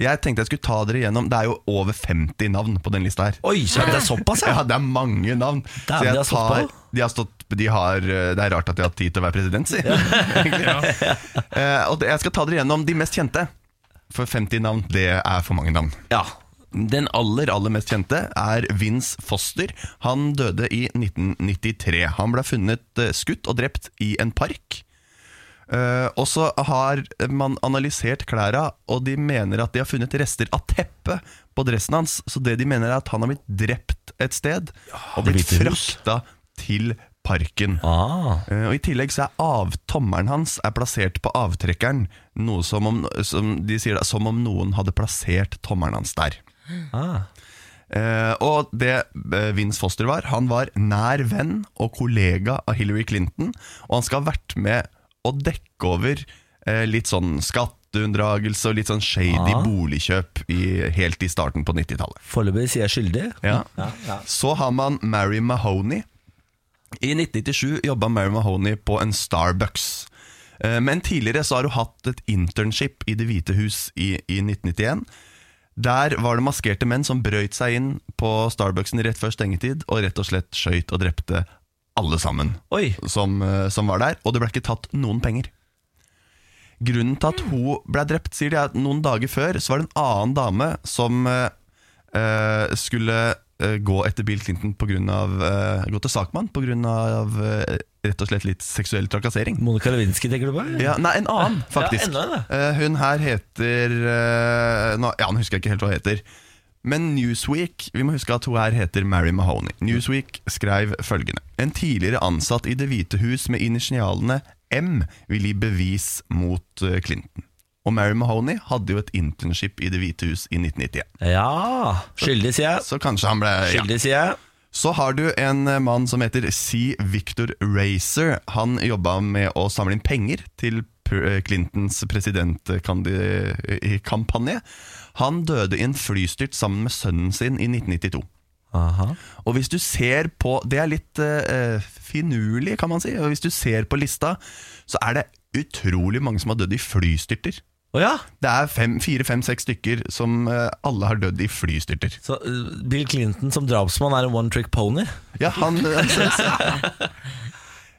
Speaker 10: Jeg tenkte jeg skulle ta dere gjennom Det er jo over 50 navn på den lista her.
Speaker 1: Oi, så det er såpass, ja.
Speaker 10: Ja, det er mange navn. så
Speaker 1: Damn, de har
Speaker 10: jeg
Speaker 1: stått
Speaker 10: tar
Speaker 1: på.
Speaker 10: de har stått, de har, eh, Det er rart at de har hatt tid til å være president, si. Egentlig. Eh, og det- jeg skal ta dere gjennom de mest kjente. For 50 navn, det er for mange navn.
Speaker 1: ja.
Speaker 10: Den aller, aller mest kjente er Vince Foster. Han døde i 1993. Han ble funnet eh, skutt og drept i en park. Eh, og så har man analysert klærne, og de mener at de har funnet rester av teppet på dressen hans. Så det de mener er at han har blitt drept et sted, og
Speaker 1: Det
Speaker 10: blitt
Speaker 1: Hvite Hus.
Speaker 10: frakta til parken.
Speaker 1: Ah.
Speaker 10: Eh, Og I tillegg så er avtommelen hans er plassert på avtrekkeren, noe som om, som de sier, da, som om noen hadde plassert tommelen hans der. Ah. Eh, og det eh, Vince Foster var, han var nær venn og kollega av Hillary Clinton, og han skal ha vært med å dekke over eh, litt sånn skatteunndragelse og litt sånn shady boligkjøp i, helt i starten på 90-tallet.
Speaker 1: Foreløpig sier jeg skyldig.
Speaker 10: Ja. Så har man Mary Mahoney. I 1997 jobba Mary Mahoney på en Starbucks. Eh, Men tidligere så har hun hatt et internship i Det hvite hus i, i 1991. Der var det maskerte menn som brøyt seg inn på Starbucksen rett før stengetid og rett og slett skøyt og drepte alle sammen
Speaker 1: Oi.
Speaker 10: som, eh, som var der, og det ble ikke tatt noen penger. Grunnen til at hun ble drept, sier de, er at noen dager før så var det en annen dame som eh, eh, skulle eh, gå etter Bill Clinton på grunn av, eh, gå til sakmann pga. Uh, rett og slett litt seksuell trakassering.
Speaker 1: Monica Lewinsky, tenker du på? eller?
Speaker 10: Ja, nei, en annen, faktisk.
Speaker 1: enda en,
Speaker 10: Eh, hun her heter eh, nå, Ja, nå husker jeg ikke helt hva hun heter. Men Newsweek vi må huske at hun her heter Mary Mahoney. Newsweek skrev følgende En tidligere ansatt i Det hvite hus med initialene M vil gi bevis mot eh, Clinton. Og Mary Mahoney hadde jo et internship i Det hvite hus i 1991.
Speaker 1: Ja. Skyldig, sier jeg.
Speaker 10: Så kanskje han ble ja.
Speaker 1: Skyldig, sier jeg.
Speaker 10: Så har du en eh, mann som heter C. Victor Racer. Han jobba med å samle inn penger til P- eh, Clintons presidentkampanje. Han døde i en flystyrt sammen med sønnen sin i 1992.
Speaker 1: Aha.
Speaker 10: Og hvis du ser på Det er litt eh, finurlig, kan man si. Og hvis du ser på lista, så er det utrolig mange som har dødd i flystyrter.
Speaker 1: Å ja!
Speaker 10: Det er fem, fire, fem, seks stykker som eh, alle har dødd i flystyrter.
Speaker 1: Så eh, Bill Clinton som drapsmann er en one trick pony?
Speaker 10: Ja, han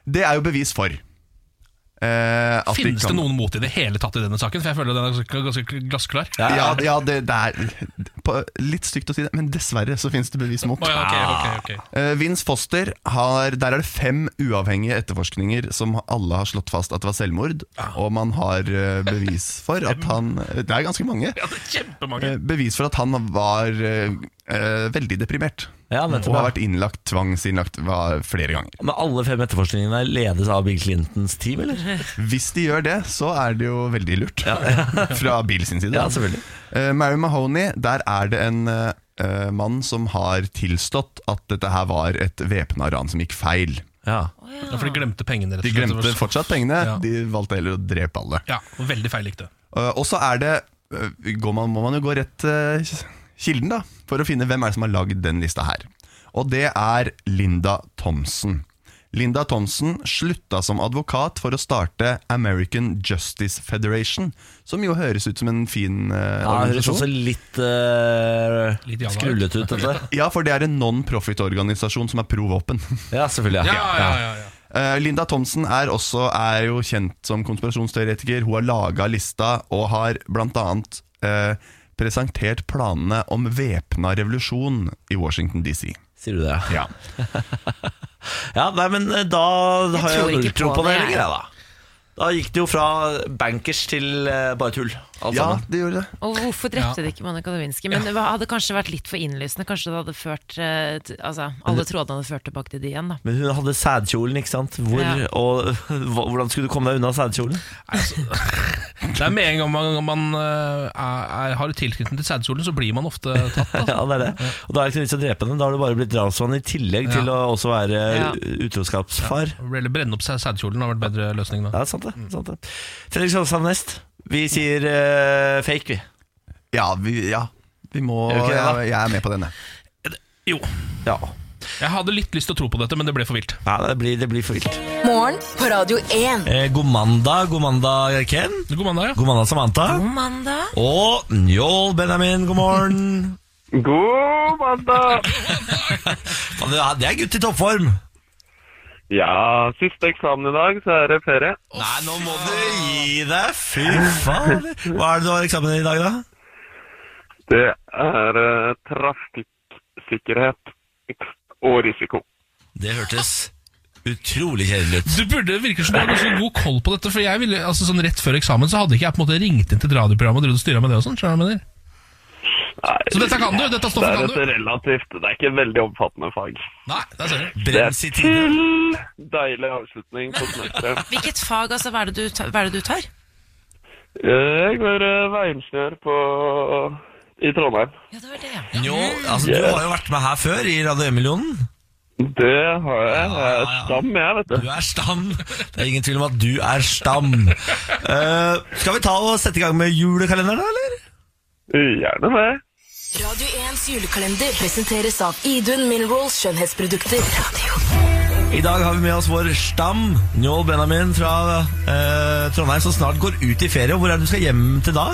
Speaker 10: Det er jo bevis for. eh, at de
Speaker 2: Finnes
Speaker 10: kan-
Speaker 2: det noen mot i det hele tatt i denne saken? For jeg føler den er ganske- ganske glassklar.
Speaker 10: Ja, ja, det, det er på, Litt stygt å si det, men dessverre så finnes det bevis mot.
Speaker 2: Å, ja, ok, ok, ok.
Speaker 1: Ah.
Speaker 10: Eh, Vince Foster har, Der er det fem uavhengige etterforskninger som alle har slått fast at det var selvmord,
Speaker 2: Ah.
Speaker 10: og man har eh, bevis for at han eh, Det er ganske mange.
Speaker 2: Ja, det er kjempemange.
Speaker 10: Eh, Bevis for at han var eh, eh, veldig deprimert.
Speaker 1: Ja,
Speaker 10: og
Speaker 1: nettopp,
Speaker 10: har
Speaker 1: ja.
Speaker 10: vært innlagt, tvangsinnlagt hva- flere ganger.
Speaker 1: Men alle fem etterforskningene ledes av Bill Clintons team, eller?
Speaker 10: Hvis de gjør det, så er det jo veldig lurt. Fra Bill sin side.
Speaker 1: Ja, selvfølgelig.
Speaker 10: Eh, Mary Mahoney, der er det en eh, eh, mann som har tilstått at dette her var et væpna ran som gikk feil.
Speaker 1: Ja.
Speaker 2: Ja, for de glemte pengene, rett og
Speaker 10: De
Speaker 2: slett.
Speaker 10: glemte fortsatt pengene,
Speaker 2: Ja.
Speaker 10: de valgte heller å drepe alle.
Speaker 2: Ja, og veldig feil likte.
Speaker 10: Eh, Og så er det eh, går man, Må man jo gå rett til kilden, da, for å finne hvem er det som har lagd den lista her. Og det er Linda Thompson. Linda Thompson slutta som advokat for å starte American Justice Federation, som jo høres ut som en fin eh,
Speaker 1: Ja, det høres også
Speaker 10: organisasjon.
Speaker 1: litt, eh,
Speaker 2: Litt jalla ut.
Speaker 1: skrullete ut, dette.
Speaker 10: Ja, for det er en non-profit-organisasjon som er pro-våpen.
Speaker 1: Ja, selvfølgelig.
Speaker 2: Ja,
Speaker 1: Ja.
Speaker 2: ja, ja, ja.
Speaker 10: Eh, Linda Thompson er også er jo kjent som konspirasjonsteoretiker. Hun har laga lista og har bl.a. Eh, presentert planene om væpna revolusjon i Washington DC.
Speaker 1: Sier du det?
Speaker 10: Ja.
Speaker 1: Ja, nei, men eh, da har
Speaker 3: tror
Speaker 1: jeg
Speaker 3: ikke
Speaker 1: null tro
Speaker 3: på
Speaker 1: på det
Speaker 3: det,
Speaker 1: lenger, jeg, da. Da gikk det jo fra bankers til eh, bare tull, alt
Speaker 10: ja,
Speaker 1: sammen.
Speaker 10: det gjorde det.
Speaker 3: Og hvorfor drepte de ikke Monica Lewinsky? Men det var- hadde kanskje vært litt for innlysende. Kanskje det hadde ført eh, t- Altså, alle trådene hadde ført tilbake til de igjen, da.
Speaker 1: Men hun hadde sædkjolen, ikke sant? Hvor,
Speaker 3: Ja.
Speaker 1: og, hva- hvordan skulle du komme deg unna sædkjolen?
Speaker 2: Det er med en gang man, man eh, er, er, har tilknytning til sædsolen, så blir man ofte tatt. Altså.
Speaker 1: Ja, det er det. Og da er det ikke noe vits i å drepe henne. Da har du bare blitt drapsmann i tillegg til å
Speaker 2: Ja.
Speaker 1: også være eh,
Speaker 3: Ja.
Speaker 1: utroskapsfar.
Speaker 2: Eller brenne opp sæ- sædkjolen har vært bedre løsning da.
Speaker 1: Ja, sant det. Sant det. Fredrik Sandstad Nest, vi sier eh, fake, vi.
Speaker 10: Ja, vi, ja. vi må
Speaker 1: Er du ikke det, da?
Speaker 10: jeg, jeg er med på denne.
Speaker 2: Jo,
Speaker 1: Ja.
Speaker 2: jeg hadde litt lyst til å tro på dette, men det ble for vilt.
Speaker 1: ja det, blir, det blir for vilt.
Speaker 4: Morgen på Radio 1.
Speaker 1: Eh, god mandag, god mandag, Ken.
Speaker 2: God mandag, ja.
Speaker 1: God mandag, Samantha.
Speaker 3: God mandag!
Speaker 1: Og Njål Benjamin, god morgen.
Speaker 9: God mandag!
Speaker 1: Faen, det er- Det er gutt i toppform.
Speaker 9: Ja, siste eksamen i dag, så er det ferie.
Speaker 1: Nei, nå må du gi deg. Fy faen. Hva er det du har eksamen i i dag, da?
Speaker 9: Det er eh, trafikksikkerhet og risiko.
Speaker 1: Det hørtes utrolig kjedelig ut.
Speaker 2: Du burde virke som du har ganske god koll på dette, for jeg ville, altså sånn rett før eksamen så hadde ikke jeg på en måte ringt inn til et radioprogram og drevet og styret med det og sånn, skjønner du hva jeg mener?
Speaker 9: Nei,
Speaker 2: Så dette kan du, dette
Speaker 9: det
Speaker 2: stoffet
Speaker 9: er et
Speaker 2: kan du.
Speaker 9: relativt, det er ikke et veldig omfattende fag.
Speaker 2: Nei, der ser du.
Speaker 9: Det er
Speaker 1: Brems i tide.
Speaker 9: til deilig avslutning på semesteret.
Speaker 3: Hvilket fag, altså? Hva er det du, ta- hva er det du tar?
Speaker 9: Jeg går eh, veiingeniør på i Trondheim.
Speaker 3: Ja, det var det, ja.
Speaker 1: Njål, altså, du har jo vært med her før i Radio 1-millionen.
Speaker 9: Det har jeg. Jeg er
Speaker 1: ja, ja.
Speaker 9: stam, jeg, vet
Speaker 1: Du
Speaker 9: du.
Speaker 1: er stam. Det er ingen tvil om at du er stam. Eh, skal vi ta og sette i gang med julekalenderen, da, eller?
Speaker 9: Gjerne det.
Speaker 4: Radio 1s julekalender presenteres av Idun Minerals skjønnhetsprodukter.
Speaker 1: I dag har vi med oss vår stam, Njål Benjamin fra eh, Trondheim, som snart går ut i ferie. Hvor er det du skal hjem til da?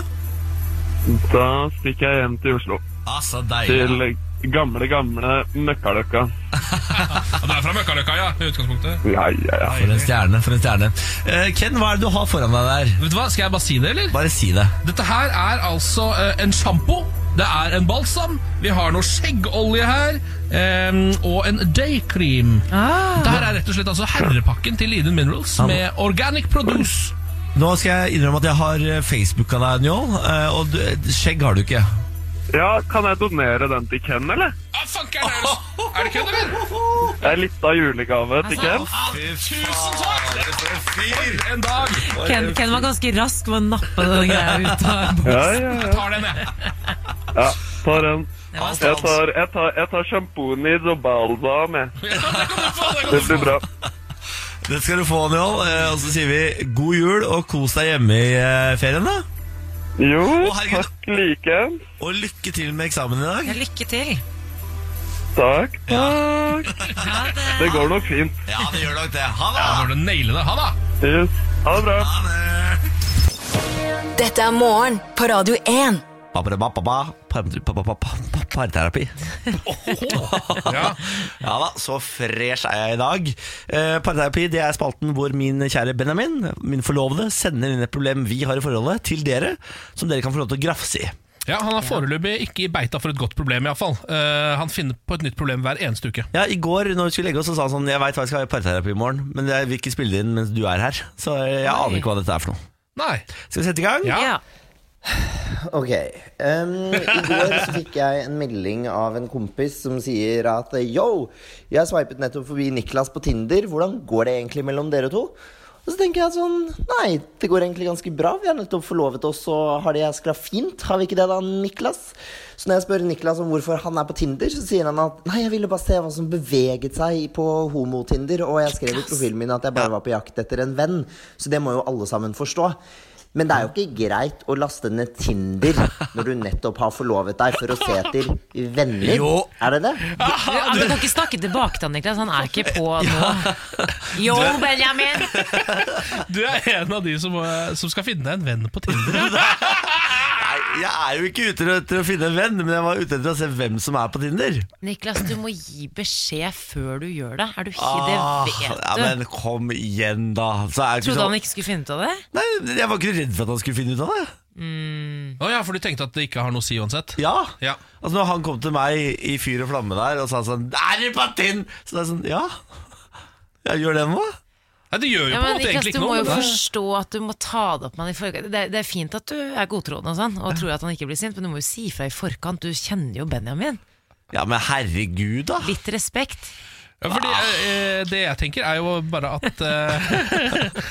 Speaker 9: Da stikker jeg hjem til Oslo.
Speaker 1: Altså, deilig.
Speaker 9: Til gamle, gamle Møkkaløkka.
Speaker 2: Ja, du er fra Møkkaløkka, ja, i utgangspunktet.
Speaker 9: Ja, ja, ja.
Speaker 1: For en stjerne. for en stjerne Eh, Ken, hva er det du har foran deg der?
Speaker 2: Vet du hva, skal jeg bare si det, eller?
Speaker 1: Bare si det.
Speaker 2: Dette her er altså eh, en sjampo. Det er en balsam. Vi har noe skjeggolje her. em, og en daycream. Dette her er rett og slett altså herrepakken til Eden Minerals med organic produce.
Speaker 1: Nå skal jeg innrømme at jeg har eh, Facebooka deg, Njål. eh, Og du, skjegg har du ikke.
Speaker 9: Ja, kan jeg donere den til Ken, eller?
Speaker 2: Ah, fanker, er, det, er det kødd, eller?
Speaker 9: Det er litt av julegave til Ken.
Speaker 1: Altså,
Speaker 2: Tusen takk! For en dag!
Speaker 3: Ken, Ken var ganske rask med å nappe den greia ut av
Speaker 9: Ja,
Speaker 3: boksen.
Speaker 9: ja,
Speaker 2: Jeg
Speaker 9: ja.
Speaker 2: tar den, jeg.
Speaker 9: ja tar den.
Speaker 1: var
Speaker 9: Jeg tar, jeg tar, jeg tar sjampoen i Zobalda med.
Speaker 2: Ja, det kan du få, det
Speaker 9: Det
Speaker 2: kan du få.
Speaker 9: blir bra.
Speaker 1: Det skal du få, Njål. Eh, Og så sier vi god jul og kos deg hjemme i eh, ferien, da.
Speaker 11: Jo,
Speaker 1: Å, herregud.
Speaker 11: takk like.
Speaker 1: Og lykke til med eksamen i dag.
Speaker 3: Ja, lykke til.
Speaker 11: Takk, takk. Det går nok fint.
Speaker 1: Ja, det gjør nok det. Ha det!
Speaker 2: Ja, når du nailer det. Ha det!
Speaker 11: Yes. Ha det bra.
Speaker 4: Dette er morgen på Radio 1.
Speaker 1: Ba-ba-ba-ba-ba. Pa-pa-pa-pa-pa. Parterapi. ja. da, så fresh er jeg i dag. Eh, parterapi det er spalten hvor min kjære Benjamin, min forlovede, sender inn et problem vi har i forholdet, til dere, som dere kan få lov til å grafse i.
Speaker 2: Ja, Han er foreløpig ikke i beita for et godt problem, iallfall. Uh, han finner på et nytt problem hver eneste uke.
Speaker 1: Ja, I går når vi skulle legge oss, så sa han sånn Jeg veit hva jeg skal ha i parterapi i morgen, men jeg vil ikke spille det inn mens du er her. Så eh, jeg aner ikke hva dette er for noe.
Speaker 2: Nei.
Speaker 1: Skal vi sette i gang?
Speaker 3: Ja.
Speaker 12: Ok. em, I går så fikk jeg en melding av en kompis som sier at Yo, jeg sveipet nettopp forbi Niklas på Tinder. Hvordan går det egentlig mellom dere to? Og så tenker jeg sånn Nei, det går egentlig ganske bra. Vi har nettopp forlovet oss og har det jæskla fint. Har vi ikke det da, Niklas? Så når jeg spør Niklas om hvorfor han er på Tinder, så sier han at Nei, jeg ville bare se hva som beveget seg på homotinder, og jeg skrev i profilen min at jeg bare var på jakt etter en venn. Så det må jo alle sammen forstå. Men det er jo ikke greit å laste ned Tinder når du nettopp har forlovet deg for å se etter venner.
Speaker 3: Jo.
Speaker 12: Er det det?
Speaker 3: Ja, men Du kan ikke snakke tilbake til han, Niklas. Han er ikke på nå. Yo,
Speaker 2: Du er-
Speaker 3: Benjamin!
Speaker 2: Du er en av de som, eh, som skal finne deg en venn på Tinder.
Speaker 1: Nei, jeg er jo ikke ute etter å finne en venn, men jeg var ute etter å se hvem som er på Tinder.
Speaker 3: Niklas, du må gi beskjed før du gjør det. Er du ikke
Speaker 1: Ah,
Speaker 3: Det vet du.
Speaker 1: ja, men kom igjen, da. Så er det ikke
Speaker 3: Trodde han
Speaker 1: sånn-
Speaker 3: ikke skulle finne ut av det? Mm.
Speaker 1: Nei, Jeg var ikke redd for at han skulle finne ut av det.
Speaker 2: Å ja, for du tenkte at det ikke har noe å si uansett?
Speaker 1: Ja.
Speaker 2: Ja.
Speaker 1: Altså Når han kom til meg i fyr og flamme der og sa sånn Er du på Tinder? Så det er sånn Ja, ja gjør det noe?
Speaker 2: Nei, det gjør jo på
Speaker 3: Ja,
Speaker 2: en
Speaker 3: men
Speaker 2: måte
Speaker 3: Niklas,
Speaker 2: egentlig
Speaker 3: du
Speaker 2: ikke
Speaker 3: må
Speaker 2: noe.
Speaker 3: jo
Speaker 2: men det-
Speaker 3: forstå at du må ta det opp med han i forkant. Det, det er fint at du er godtroende og sånn, og tror at han ikke blir sint, men du må jo si fra i forkant. Du kjenner jo Benjamin.
Speaker 1: Ja, men herregud, da. Ah.
Speaker 3: Litt respekt.
Speaker 2: Ja, fordi eh, Det jeg tenker, er jo bare at eh,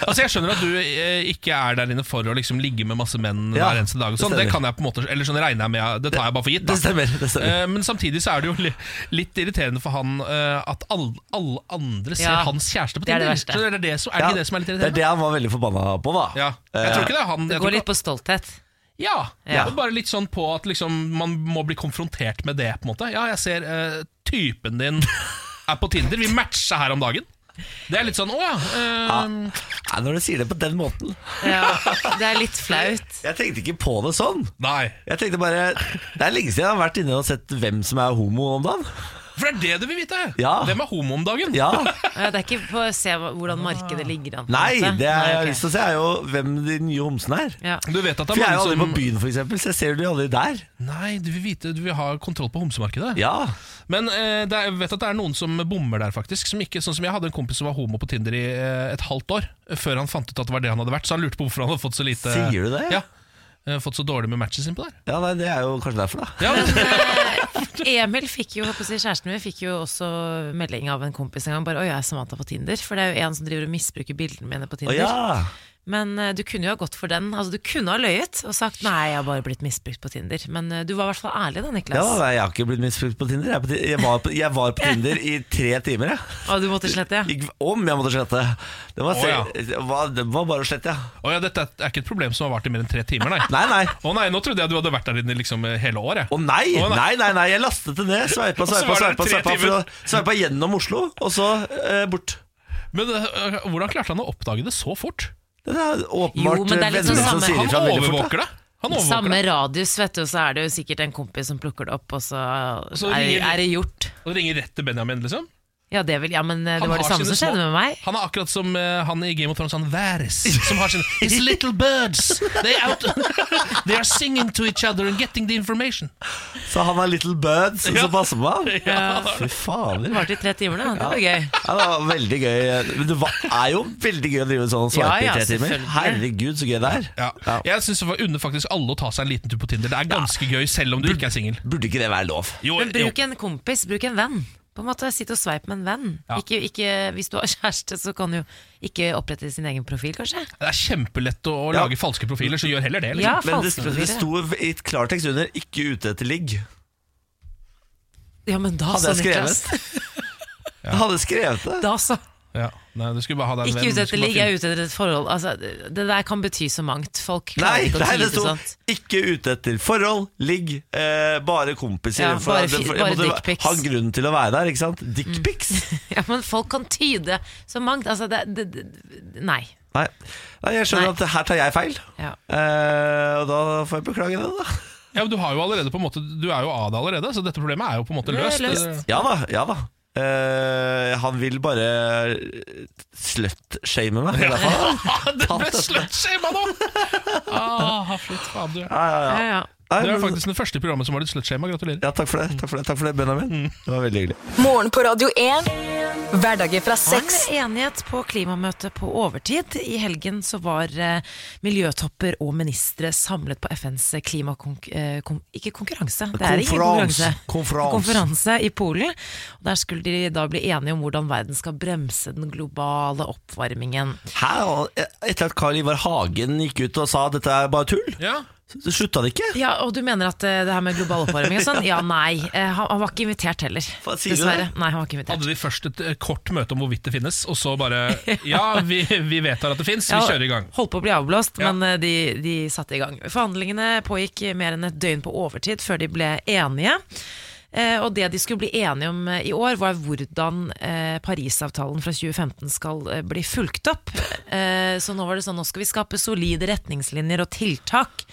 Speaker 2: Altså, jeg skjønner at du eh, ikke er der inne for å liksom ligge med masse menn
Speaker 1: Ja,
Speaker 2: hver eneste dag. og
Speaker 1: det
Speaker 2: Sånn. Det
Speaker 1: stemmer.
Speaker 2: kan jeg på en måte Eller sånn regner jeg med Det tar jeg bare for gitt. Da.
Speaker 1: Det stemmer, det stemmer.
Speaker 2: Eh, Men samtidig så er det jo li- litt irriterende for han eh, at alle alle andre ser
Speaker 3: Ja,
Speaker 2: hans kjæreste på
Speaker 3: det er det
Speaker 2: Tinder.
Speaker 3: verste.
Speaker 2: Så det er, det som, er det
Speaker 1: Ja,
Speaker 2: ikke det som er litt
Speaker 1: Det er
Speaker 2: irriterende?
Speaker 1: det han var veldig forbanna på, da.
Speaker 2: Ja. Jeg tror ikke det er han.
Speaker 3: Det
Speaker 2: Jeg
Speaker 3: går
Speaker 2: tror
Speaker 3: litt
Speaker 2: ikke,
Speaker 3: på stolthet.
Speaker 2: ja,
Speaker 1: Ja.
Speaker 2: og Bare litt sånn på at liksom, man må bli konfrontert med det, på en måte. Ja, jeg ser eh, typen din er på Tinder. Vi matcha her om dagen. Det er litt sånn, å ja. eh,
Speaker 1: Nei, Når du sier det på den måten
Speaker 3: Ja, det er litt flaut.
Speaker 1: Jeg tenkte ikke på det sånn.
Speaker 2: Nei.
Speaker 1: Jeg tenkte bare Det er lenge siden jeg har vært inne og sett hvem som er homo om dagen.
Speaker 2: For det er det du vil vite.
Speaker 1: Ja.
Speaker 2: Hvem er homo om dagen?
Speaker 1: Ja.
Speaker 3: Ja, Det er ikke på å se hva- hvordan markedet ligger an. på en
Speaker 1: Nei,
Speaker 3: måte.
Speaker 1: det jeg har
Speaker 3: ok.
Speaker 1: lyst til å se, er jo hvem de nye homsene er.
Speaker 3: Ja.
Speaker 2: Du vet at det
Speaker 1: For jeg er
Speaker 2: er
Speaker 1: jo aldri på
Speaker 2: mange som
Speaker 1: byen, for eksempel, så jeg ser jo de aldri der.
Speaker 2: Nei, du vil vite, du vil ha kontroll på homsemarkedet.
Speaker 1: Ja,
Speaker 2: Men eh, det er, jeg vet at det er noen som bommer der, faktisk. Som ikke, sånn som Jeg hadde en kompis som var homo på Tinder i eh, et halvt år, eh, før han fant ut at det var det han hadde vært. Så han lurte på hvorfor han hadde fått så lite
Speaker 1: Sier du det?
Speaker 2: Ja, eh, Fått så dårlig med matches innpå der.
Speaker 1: ja nei, Det er jo kanskje derfor, da.
Speaker 2: Ja, men,
Speaker 3: Emil fikk jo, jeg håper å si, kjæresten min fikk jo også melding av en kompis en gang. Bare, Oi, jeg er Samantha på Tinder. For det er jo en som driver og misbruker bildene mine på
Speaker 1: Å
Speaker 3: Tinder.
Speaker 1: ja.
Speaker 3: Men eh, du kunne jo ha gått for den. Altså, du kunne ha løyet og sagt nei, jeg har bare blitt misbrukt på Tinder. Men eh, du var i hvert fall ærlig da,
Speaker 1: ja
Speaker 3: Niklas.
Speaker 1: nei, Jeg har ikke blitt misbrukt på Tinder. Jeg, er på, Ti- jeg, var på, jeg var på Tinder i tre timer, jeg.
Speaker 3: Og du måtte slette, ja.
Speaker 1: Gikk, om jeg måtte slette. Det var,
Speaker 2: Å,
Speaker 1: se,
Speaker 2: ja.
Speaker 1: det var, det var bare å slette, ja.
Speaker 2: Å ja, dette er ikke et problem som har vart i mer enn tre timer, nei.
Speaker 1: Nei, nei.
Speaker 2: Å nei, nå trodde jeg du hadde vært der inne liksom eh, hele året.
Speaker 1: Å nei,
Speaker 2: Å, nei.
Speaker 1: nei, nei, nei, jeg lastet det ned. Sveipa,
Speaker 2: så
Speaker 1: sveipa,
Speaker 2: var det
Speaker 1: sveipa,
Speaker 2: tre
Speaker 1: sveipa, for å-
Speaker 2: timer.
Speaker 1: sveipa gjennom Oslo, og så eh, bort.
Speaker 2: Men eh, hvordan klarte han å oppdage det så fort?
Speaker 1: Det er
Speaker 3: Jo,
Speaker 1: åpenbart
Speaker 3: men det er litt
Speaker 1: eh, venner
Speaker 3: sånn
Speaker 1: som
Speaker 3: samme-
Speaker 1: sier
Speaker 2: Han
Speaker 1: ifra veldig fort. da.
Speaker 2: overvåker det. Han overvåker
Speaker 3: Samme
Speaker 2: det.
Speaker 3: radius, vet du, og så er det jo sikkert en kompis som plukker det opp, og så
Speaker 2: så
Speaker 3: er,
Speaker 2: ringer-
Speaker 3: er det gjort.
Speaker 2: Og ringer rett til Benjamin, liksom.
Speaker 3: Ja, det vil, ja men eh,
Speaker 2: Han
Speaker 3: det var det
Speaker 2: har
Speaker 3: samme
Speaker 2: sine
Speaker 3: som skjedde
Speaker 2: små-
Speaker 3: med meg.
Speaker 2: Han er akkurat som eh, han i Game of Thrones, han Varys, som har sin His little birds! They, out, they are singing to each other and getting the information.
Speaker 1: Så han er little birds, og så passer på ham? Fy
Speaker 3: Det
Speaker 1: fader.
Speaker 3: varte i tre timer, da. Det var gøy.
Speaker 1: Ja, det var veldig gøy. Men det var, er jo veldig gøy å drive sånn sveipe
Speaker 3: Ja,
Speaker 1: i
Speaker 3: ja,
Speaker 1: tre timer.
Speaker 3: selvfølgelig.
Speaker 1: Herregud, så gøy det er.
Speaker 2: Ja. Jeg syns det unner faktisk alle å ta seg en liten tur på Tinder. Det er ganske gøy, selv om du ikke er singel.
Speaker 1: Burde ikke det være lov?
Speaker 2: Jo,
Speaker 3: Men
Speaker 2: jo.
Speaker 3: bruk en kompis, bruk en venn. På en måte, Sitt og sveip med en venn.
Speaker 2: Ja.
Speaker 3: Ikke, ikke, hvis du har kjæreste, så kan du jo ikke opprette sin egen profil, kanskje.
Speaker 2: Det er kjempelett å, å
Speaker 1: Ja.
Speaker 2: lage falske profiler, så gjør heller det.
Speaker 3: Ja,
Speaker 2: Liksom.
Speaker 1: Men det,
Speaker 3: falske
Speaker 1: det
Speaker 3: profiler.
Speaker 1: sto i klartekst under 'ikke ute etter ligg'.
Speaker 3: Ja, men da
Speaker 1: Hadde
Speaker 3: så,
Speaker 1: jeg
Speaker 3: Niklas.
Speaker 1: skrevet Jeg hadde skrevet det.
Speaker 3: Da så.
Speaker 2: Ja. Nei, du skulle bare ha deg en
Speaker 3: Ikke
Speaker 2: venn,
Speaker 3: ute
Speaker 2: du
Speaker 3: etter
Speaker 2: skulle bare
Speaker 3: ligg, jeg er ute etter et forhold. Altså, det det der kan bety så mangt. Folk klarer
Speaker 1: Nei,
Speaker 3: ikke å
Speaker 1: nei,
Speaker 3: tyde
Speaker 1: det sto
Speaker 3: sånt.
Speaker 1: 'ikke ute etter forhold, ligg, eh, bare kompiser'.
Speaker 3: Ja, bare
Speaker 1: det-
Speaker 3: fi-
Speaker 1: jeg
Speaker 3: bare Mm.
Speaker 1: måtte
Speaker 3: dickpics.
Speaker 1: Ha en grunn til å være der, ikke sant? Dickpics?
Speaker 3: Ja, men folk kan tyde så mangt. Altså, det, det, det Nei.
Speaker 1: Nei. nei, jeg skjønner at her tar jeg feil.
Speaker 3: Ja.
Speaker 1: Eh, og da får jeg beklage det, da.
Speaker 2: Ja, men du, har jo allerede på en måte, du er jo av deg allerede, så dette problemet er jo på en måte
Speaker 3: Det er
Speaker 2: løst.
Speaker 3: løst.
Speaker 1: Ja da, ja da. Eh, han vil bare slut-shame meg. i hvert fall.
Speaker 2: det ble slutshama nå! Ah, flytt faen, du.
Speaker 1: ja, ja. Nei,
Speaker 2: Du er
Speaker 1: men-
Speaker 2: faktisk den første i programmet som har litt slutshama. Gratulerer. Mm.
Speaker 1: Ja, takk for det, takk for det, takk for det Benjamin. Det var veldig hyggelig.
Speaker 4: Morgen på Radio 1. Hverdager fra seks.
Speaker 3: Det var en enighet på klimamøtet på overtid. I helgen så var eh, miljøtopper og ministre samlet på FNs klimakonk... Eh, kon- ikke konkurranse, det er ingen konkurranse.
Speaker 1: Konferanse. Konferanse.
Speaker 3: konferanse i Polen. Og der skulle de da bli enige om hvordan verden skal bremse den globale oppvarmingen.
Speaker 1: Hæ? Og Etter at Carl Ivar Hagen gikk ut og sa at dette er bare tull,
Speaker 2: ja.
Speaker 1: så slutta det ikke.
Speaker 3: Ja, Og du mener at eh, det her med global oppvarming og sånn? Ja, nei. Eh, han, han var ikke invitert heller.
Speaker 2: sier du
Speaker 3: Dessverre.
Speaker 2: det?
Speaker 3: Nei, han var ikke invitert.
Speaker 2: Hadde de først et eh, kort møte om hvorvidt det finnes, og så bare Ja, vi, vi vedtar at det fins, vi
Speaker 3: Ja,
Speaker 2: kjører i gang.
Speaker 3: Holdt på å bli avblåst, men eh, de, de satte i gang. Forhandlingene pågikk mer enn et døgn på overtid før de ble enige. Eh, og det de skulle bli enige om eh, i år, var hvordan eh, Parisavtalen fra 2015 skal eh, bli fulgt opp. Eh, så nå var det sånn, nå skal vi skape solide retningslinjer og tiltak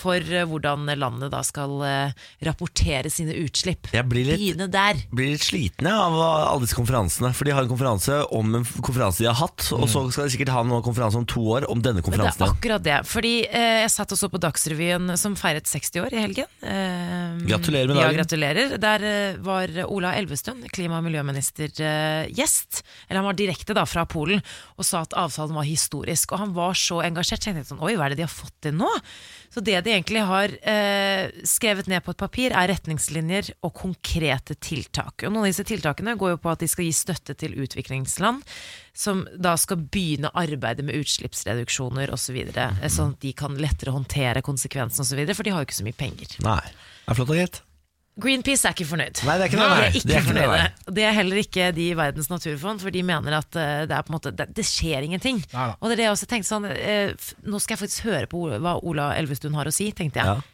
Speaker 3: for eh, hvordan landet da skal eh, rapportere sine utslipp.
Speaker 1: Jeg blir litt-
Speaker 3: Begynne der.
Speaker 1: Blir litt slitne av alle disse konferansene. For de har en konferanse om en konferanse de har hatt, og så skal de sikkert ha en konferanse om to år om denne
Speaker 3: Mm. Men det er
Speaker 1: konferansen.
Speaker 3: akkurat det. Fordi eh, jeg satt og så på Dagsrevyen eh, som feiret 60 år i helgen. Eh,
Speaker 1: Gratulerer med dagen.
Speaker 3: Ja, gratulerer. Der eh, var Ola Elvestuen, klima- og miljøminister, eh, gjest. Eller han var direkte da fra Polen og sa at avtalen var historisk. Og han var så engasjert. tenkte jeg sånn, oi, hva er det de har fått til nå? Så det de egentlig har eh, skrevet ned på et papir, er retningslinjer og konkrete tiltak. Og noen av disse tiltakene går jo på at de skal gi støtte til utviklingsland, som da skal begynne arbeidet med utslippsreduksjoner osv., så videre, eh, sånn at de kan lettere håndtere konsekvensene osv., for de har jo ikke så mye penger.
Speaker 1: Nei. Det er flott og greit.
Speaker 3: Greenpeace er ikke fornøyd.
Speaker 1: Nei, det er ikke det,
Speaker 3: de
Speaker 1: nei.
Speaker 3: er
Speaker 1: Det er
Speaker 3: ikke
Speaker 1: ikke det,
Speaker 3: fornøyde. Det er heller ikke de i Verdens naturfond, for de mener at eh, det, er på en måte, det, det skjer ingenting.
Speaker 1: Neida.
Speaker 3: Og det er det jeg også tenkte sånn eh, f- Nå skal jeg faktisk høre på Ola- hva Ola Elvestuen har å si, tenkte jeg.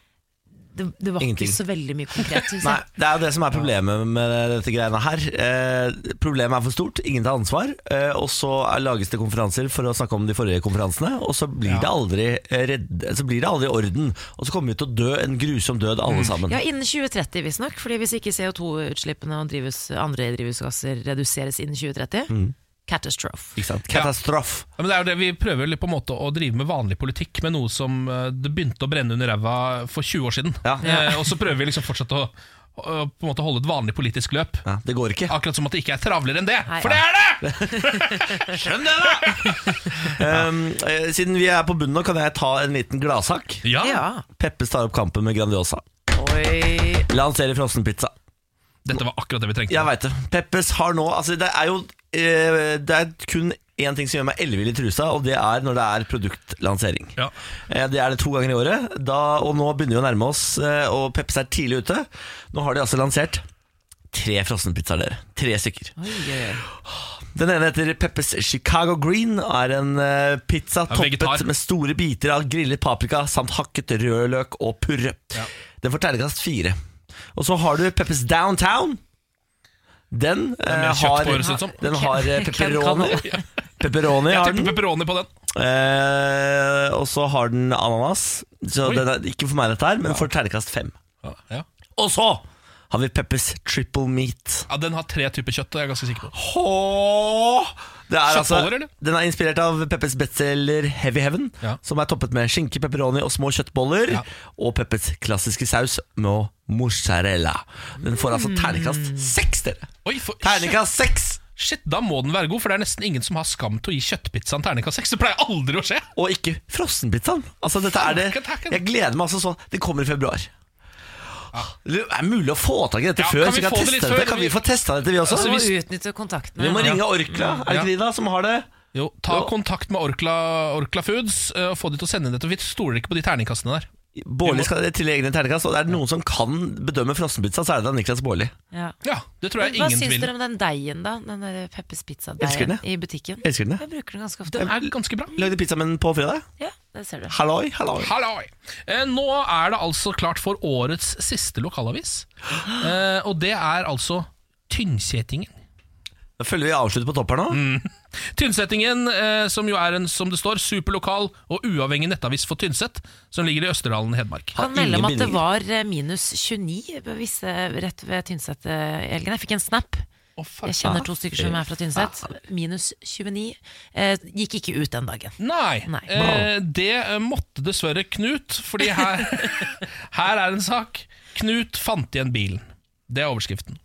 Speaker 3: Det, det var
Speaker 1: Ingenting.
Speaker 3: ikke så veldig mye konkret. synes jeg.
Speaker 1: Nei, det er jo det som er problemet med dette greiene her. Eh, problemet er for stort, ingen tar ansvar. Eh, og så er, lages det konferanser for å snakke om de forrige konferansene, og så blir, det, aldri eh, redd, så blir det aldri orden. Og så kommer vi til å dø en grusom død, alle sammen.
Speaker 3: Mm. Ja, Innen 2030 visstnok. Fordi hvis ikke CO2-utslippene og drivhus, andre drivhusgasser reduseres innen 2030
Speaker 1: Mm.
Speaker 3: Catastrophe.
Speaker 1: Ikke sant? Katastrof.
Speaker 2: Ja, men det er jo det Vi prøver litt på en måte å drive med vanlig politikk, med noe som eh, det begynte å brenne under ræva for 20 år siden.
Speaker 1: Ja.
Speaker 2: Eh, og så prøver vi liksom fortsatt å, å på en måte holde et vanlig politisk løp.
Speaker 1: det går ikke
Speaker 2: Akkurat som at det ikke er travlere enn det! For det er det! Skjønn det, da!
Speaker 1: Um, eh, siden vi er på bunnen nå, kan jeg ta en liten gladsak?
Speaker 2: Ja.
Speaker 1: Peppes tar opp kampen med Grandiosa.
Speaker 3: Oi.
Speaker 1: Lanserer frossenpizza.
Speaker 2: Dette var akkurat det vi trengte.
Speaker 1: Jeg vet det. Peppes har nå altså Det er jo eh, Det er kun én ting som gjør meg ellevill i trusa, og det er når det er produktlansering. Eh, Det er det to ganger i året, da, og nå begynner vi å nærme oss, eh, og Peppes er tidlig ute. Nå har de altså lansert tre frossenpizzaer, dere. Tre stykker. Den ene heter Peppers Chicago Green og er en eh, pizza
Speaker 2: Ja,
Speaker 1: toppet
Speaker 2: vegetar.
Speaker 1: med store biter av grillet paprika samt hakket rødløk og purre. Den får terningkast fire. Og så har du Peppers Downtown. Den
Speaker 2: er mer
Speaker 1: eh,
Speaker 2: kjøtt
Speaker 1: har,
Speaker 2: på, høres det ut som.
Speaker 1: den har eh,
Speaker 2: Ken- Ken
Speaker 1: pepperoni.
Speaker 2: kan-
Speaker 1: Pepperoni
Speaker 2: Jeg
Speaker 1: har
Speaker 2: tipper
Speaker 1: den.
Speaker 2: pepperoni på den.
Speaker 1: Eh, og så har den ananas. Så
Speaker 2: Oi.
Speaker 1: den er ikke for meg, dette her, men får terningkast fem.
Speaker 2: Ja.
Speaker 1: Og så har vi Peppers Triple Meat.
Speaker 2: Ja, Den har tre typer kjøtt, det er jeg ganske sikker på.
Speaker 1: Åh! Det er altså,
Speaker 2: Kjøttboller, eller?
Speaker 1: den er inspirert av Peppers bestselger Heavy Heaven, som er toppet med skinke, pepperoni og små kjøttboller. Og Peppers klassiske saus med mozzarella. Den får altså terningkast seks, dere!
Speaker 2: Oi, for
Speaker 1: Terningkast seks!
Speaker 2: Shit, da må den være god, for det er nesten ingen som har skam til å gi kjøttpizzaen terningkast seks. Det pleier aldri å skje.
Speaker 1: Og ikke frossenpizzaen. Altså, dette er det Jeg gleder meg altså sånn. Det kommer i februar. Det er mulig å få tak i dette
Speaker 3: Ja,
Speaker 1: før, så
Speaker 3: kan
Speaker 1: vi
Speaker 3: vi
Speaker 1: kan
Speaker 3: få det
Speaker 1: teste
Speaker 3: litt
Speaker 1: dette.
Speaker 3: før?
Speaker 1: Kan vi få testa dette, vi også?
Speaker 3: Altså, vi må utnytte kontaktene.
Speaker 1: vi må
Speaker 2: Ja.
Speaker 1: ringe Orkla, er det
Speaker 2: Ja.
Speaker 1: ikke de da, som har det?
Speaker 2: Jo, ta kontakt med Orkla, Orkla Foods eh, og få de til å sende inn dette. Vi stoler ikke på de terningkastene der.
Speaker 1: Bårli skal tilegne terningkast, og er det noen som kan bedømme frossenpizza, så er det da Niklas Bårli.
Speaker 3: Ja.
Speaker 2: det tror jeg
Speaker 3: Men
Speaker 1: ingen
Speaker 3: Hva syns
Speaker 1: tviler.
Speaker 3: dere om den deigen, da? Den der Peppers
Speaker 1: Elsker den,
Speaker 3: Pizza-deigen
Speaker 1: jeg.
Speaker 3: i butikken?
Speaker 1: Elsker den, jeg.
Speaker 3: Jeg bruker den ganske ofte.
Speaker 2: ganske bra.
Speaker 1: Lagde pizza med den på fredag.
Speaker 3: Ja, det ser du.
Speaker 1: Halloi, halloi.
Speaker 2: Halloi. Eh, nå er det altså klart for årets siste lokalavis. Eh, og det er altså Tynnsetingen.
Speaker 1: Da følger vi avslutter på topp her nå.
Speaker 2: Mm. Tynnsettingen, eh, som jo er en som det står, superlokal og uavhengig nettavis for Tynset, som ligger i Østerdalen i Hedmark.
Speaker 3: Kan melde om at det var eh, minus 29 på visse rett ved Tynset eh, i helgen. Jeg fikk en snap. jeg kjenner to stykker som er fra Tynset. Minus 29. Eh, gikk ikke ut den dagen.
Speaker 2: Nei. Eh, det eh, måtte dessverre Knut, fordi her, her er en sak. Knut fant igjen bilen. Det er overskriften.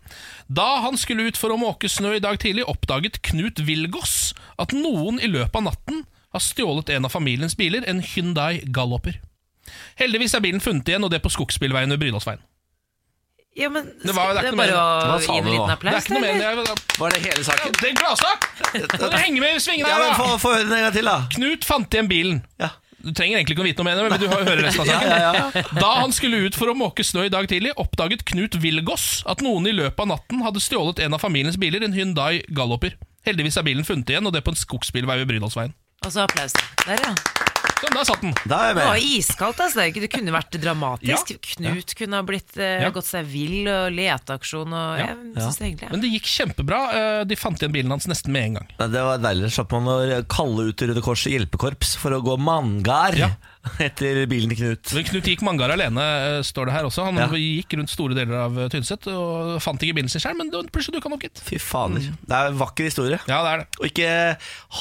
Speaker 2: Da han skulle ut for å måke snø i dag tidlig, oppdaget Knut Vilgås at noen i løpet av natten har stjålet en av familiens biler, en Hyundai Galloper. Heldigvis er bilen funnet igjen, og det på skogsbilveien ved Brydalsveien.
Speaker 3: Ja, men
Speaker 2: Det var, det er ikke noe mer.
Speaker 3: bare å gi en liten applaus,
Speaker 2: Det er ikke noe mer.
Speaker 3: eller?
Speaker 2: Det er-
Speaker 1: Var det hele saken?
Speaker 2: Det er en gladsak! Må du henge med i svingene
Speaker 1: Ja,
Speaker 2: her,
Speaker 1: men
Speaker 2: da!
Speaker 1: få, få høre den en gang til, da.
Speaker 2: Knut fant igjen bilen. Du trenger egentlig ikke å vite noe om henne, men du hører resten av saken.
Speaker 1: Ja, ja, ja.
Speaker 2: Da han skulle ut for å måke snø i dag tidlig, oppdaget Knut Vilgås at noen i løpet av natten hadde stjålet en av familiens biler, en Hyundai Galloper. Heldigvis er bilen funnet igjen, og det på en skogsbilvei ved Brydalsveien.
Speaker 3: Og så applaus. Der, ja.
Speaker 2: Sånn, der satt den.
Speaker 3: Det var iskaldt, altså. Det er ikke- Det kunne vært dramatisk.
Speaker 2: Ja.
Speaker 3: Knut kunne ha blitt, eh,
Speaker 2: Ja.
Speaker 3: gått seg vill og leteaksjon og Jeg syns det er hyggelig. ja.
Speaker 2: Men det gikk kjempebra. Eh, De fant igjen bilen hans nesten med en gang.
Speaker 1: Nei, det var deilig. Slapp man å kalle ut Røde Kors hjelpekorps for å gå mangar etter bilen til Knut.
Speaker 2: Men Knut gikk mangar alene, eh, står det her også. Han gikk rundt store deler av eh, Tynset og fant ikke bilen sin selv, men det- plutselig dukka han opp, gitt.
Speaker 1: Fy fader. Det er en vakker historie.
Speaker 2: Ja, det er det.
Speaker 1: Og ikke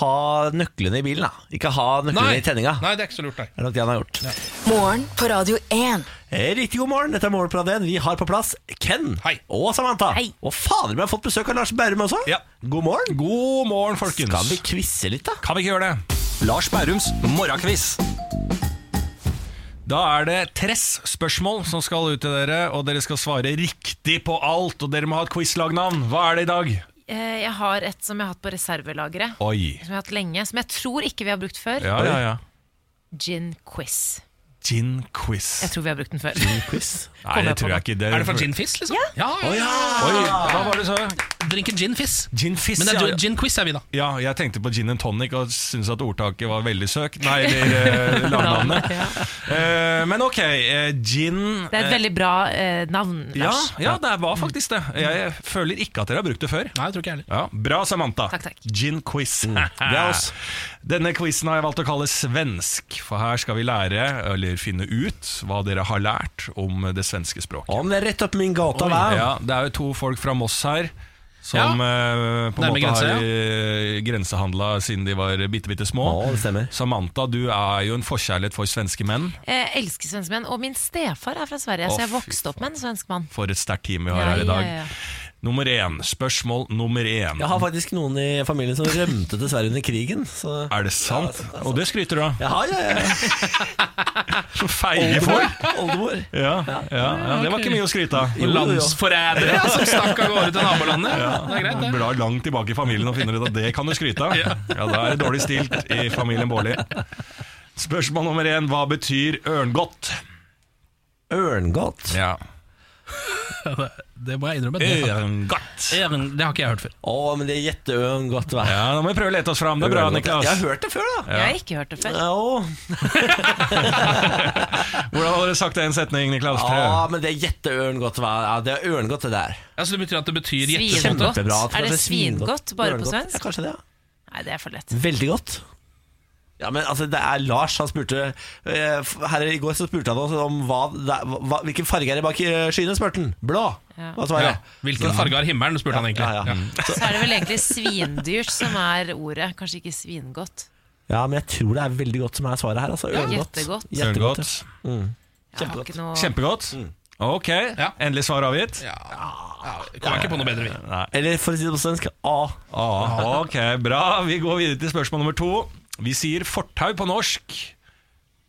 Speaker 1: ha nøklene i bilen, da. Ikke ha nøklene
Speaker 2: Nei.
Speaker 1: i tenninga.
Speaker 2: Nei, det er ikke så lurt, nei.
Speaker 1: Det er nok det han har gjort.
Speaker 4: Morgen på Radio 1.
Speaker 1: Eh, Riktig god morgen, dette er Morgenplanen. Vi har på plass Ken og Samantha. Og fader, vi har fått besøk av Lars Berrum også. God morgen.
Speaker 13: God morgen, folkens.
Speaker 1: Skal vi quize litt, da?
Speaker 13: Kan vi ikke gjøre det? Lars Bærums morgenkviss. Da er det Tress-spørsmål som skal ut til dere, og dere skal svare riktig på alt. Og dere må ha et quizlagnavn. Hva er det i dag?
Speaker 3: Eh, Jeg har et som jeg har hatt på reservelageret.
Speaker 13: Oi.
Speaker 3: Som jeg har hatt lenge, som jeg tror ikke vi har brukt før.
Speaker 13: Ja, ja, ja.
Speaker 3: Gin quiz.
Speaker 13: Gin quiz.
Speaker 3: Jeg tror vi har brukt den før.
Speaker 13: Nei, det tror jeg ikke.
Speaker 2: Er det fra Gin Fizz, liksom? Ja.
Speaker 13: Å, ja. Oi, hva var det så?
Speaker 2: Drinken Gin Fizz.
Speaker 13: Gin Fizz,
Speaker 2: Men det
Speaker 13: ja,
Speaker 2: er
Speaker 13: ja.
Speaker 2: gin quiz er vi, da.
Speaker 13: Ja, jeg tenkte på gin and tonic og syntes at ordtaket var veldig søkt. Nei, eller eh, lagnavnet. Eh, men ok, eh, gin
Speaker 3: Det er et
Speaker 13: eh,
Speaker 3: veldig bra eh, navn,
Speaker 13: ja,
Speaker 3: Lars.
Speaker 13: ja, det var faktisk det.
Speaker 1: Mm.
Speaker 13: Jeg føler ikke at dere har brukt det før.
Speaker 2: Nei, jeg tror ikke jeg
Speaker 13: Ja, bra, Samantha.
Speaker 3: Takk, takk.
Speaker 13: Gin quiz.
Speaker 1: Mm.
Speaker 13: Det er oss. Denne quizen har jeg valgt å kalle svensk, for her skal vi lære, eller finne ut, hva dere har lært om det svenske språket.
Speaker 1: Om det er rett opp min gata, hva?
Speaker 13: Ja, det er jo to folk fra Moss her. Som eh, på en
Speaker 2: Nærme
Speaker 13: måte
Speaker 2: grensa,
Speaker 13: har eh, grensehandla siden de var bitte, bitte små.
Speaker 1: Ja, det stemmer.
Speaker 13: Samantha, du er jo en forkjærlighet for svenske menn.
Speaker 3: Jeg elsker svenske menn, Eh, og min stefar er fra Sverige,
Speaker 13: Å,
Speaker 3: så jeg
Speaker 13: fy
Speaker 3: vokste opp med en svensk mann.
Speaker 13: For et sterkt team vi har
Speaker 3: Ja,
Speaker 13: her i dag.
Speaker 3: ja, ja.
Speaker 13: Nummer én. Spørsmål nummer én.
Speaker 1: Jeg har faktisk noen i familien som rømte til Sverige under krigen. Så.
Speaker 13: Er det sant? Og det skryter du av.
Speaker 1: Jeg har, ja, ja.
Speaker 13: Feige folk!
Speaker 1: Oldemor.
Speaker 13: Ja, ja, ja, det var ikke mye å skryte av.
Speaker 2: Og landsforrædere ja, som stakk av gårde til nabolandet.
Speaker 13: Ja,
Speaker 2: Det er greit, det.
Speaker 13: Blar langt tilbake i familien og finner ut at det kan du skryte av. Ja, Da er det dårlig stilt i familien Baarli. Spørsmål nummer én. Hva betyr ørngodt?
Speaker 1: Ørngodt?
Speaker 13: Ja.
Speaker 2: Det må jeg innrømme.
Speaker 13: Ørngodt.
Speaker 2: Ørn- Det har ikke jeg hørt før.
Speaker 1: Å, men det er jetteørngodt, hva?
Speaker 13: Ja, Nå må vi prøve å lete oss fram. Det er bra, Niklas.
Speaker 1: Jeg har hørt det før, da.
Speaker 3: Jeg har ikke hørt det før.
Speaker 1: Å,
Speaker 13: Hvordan hadde dere sagt det i en setning, Niklas?
Speaker 1: Ja, men det er jetteørngodt, hva? Ja, det er ørngodt, det der.
Speaker 2: Altså, det betyr at det betyr
Speaker 3: Svingodt.
Speaker 2: gjettemåte.
Speaker 1: Kjempebra.
Speaker 3: Er det
Speaker 1: Kanskje
Speaker 3: svingodt bare på
Speaker 1: Ørngodt.
Speaker 3: svensk?
Speaker 1: Ja, kanskje det, ja.
Speaker 3: Nei, det er for lett.
Speaker 1: Veldig godt. Ja, men altså, det er Lars, han spurte eh, f- Her i går så spurte han oss om hva, det er- hva, hvilken farge er det bak eh, skyene, spurte han. Blå.
Speaker 3: Ja.
Speaker 1: Hva
Speaker 2: Ja.
Speaker 1: svarer jeg?
Speaker 2: Hvilken farge har himmelen, spurte han egentlig.
Speaker 1: Ja, ja.
Speaker 3: Så er det vel egentlig svindyrt som er ordet, kanskje ikke svingodt.
Speaker 1: Ja, men jeg tror det er veldig godt som er svaret her. Altså.
Speaker 3: Ja,
Speaker 1: Ørngodt.
Speaker 3: jettegodt.
Speaker 1: Jettegodt,
Speaker 13: Ørngodt.
Speaker 1: ja. Mm.
Speaker 3: Jeg har ikke noe
Speaker 13: Kjempegodt.
Speaker 2: Mm.
Speaker 13: Ok, endelig svar avgitt? Ja.
Speaker 2: Kommer jeg ikke på noe bedre, vi.
Speaker 1: Eller for å si det på svensk A.
Speaker 13: Ah, ok, bra. Vi går videre til spørsmål nummer to. Vi sier fortau på norsk,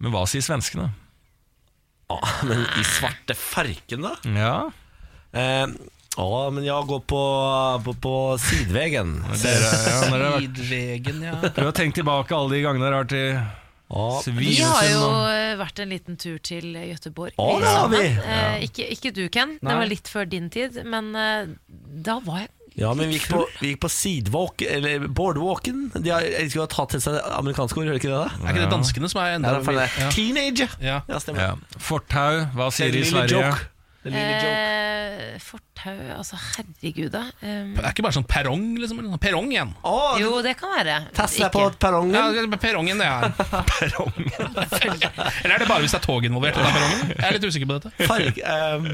Speaker 13: men hva sier svenskene?
Speaker 1: Ah, men i svarte farken, da?
Speaker 13: Ja.
Speaker 1: Eh, å, men jeg går på, på, på sidvegen.
Speaker 13: Dere, ja, dere har vært-
Speaker 2: Tidvegen, ja.
Speaker 13: Prøv å tenke tilbake alle de gangene dere har vært i
Speaker 3: Vi har jo
Speaker 13: Svinesund og-
Speaker 3: eh, vært en liten tur til Gøteborg.
Speaker 13: Å, det har vi.
Speaker 3: Ikke, ikke du, Ken.
Speaker 1: Nei.
Speaker 3: Det var litt før din tid. Men eh, da var jeg
Speaker 1: Ja, men vi gikk på, vi gikk på sidewalk, eller boardwalken. De har, jeg skulle ha tatt til seg amerikanske ord, hører ikke det? da?
Speaker 2: Er ikke det danskene som er enda
Speaker 1: Ja, det er for det.
Speaker 2: Ja.
Speaker 1: Teenager!
Speaker 2: Ja.
Speaker 1: stemmer.
Speaker 13: Fortau, hva sier
Speaker 2: Det er en
Speaker 13: de i
Speaker 2: lille
Speaker 13: Sverige?
Speaker 2: joke.
Speaker 3: eh, Fortau Altså, herregud, da. Um,
Speaker 2: Er ikke bare sånn perrong, liksom? eller noe? Perrong igjen.
Speaker 3: jo, det kan være.
Speaker 1: Tasse
Speaker 3: Ikke.
Speaker 1: på perrongen.
Speaker 2: Ja, det er perrongen, det er. Eller er det bare hvis det er tog involvert? at Det er perrongen? Jeg er litt usikker på dette.
Speaker 1: Farg, ehm,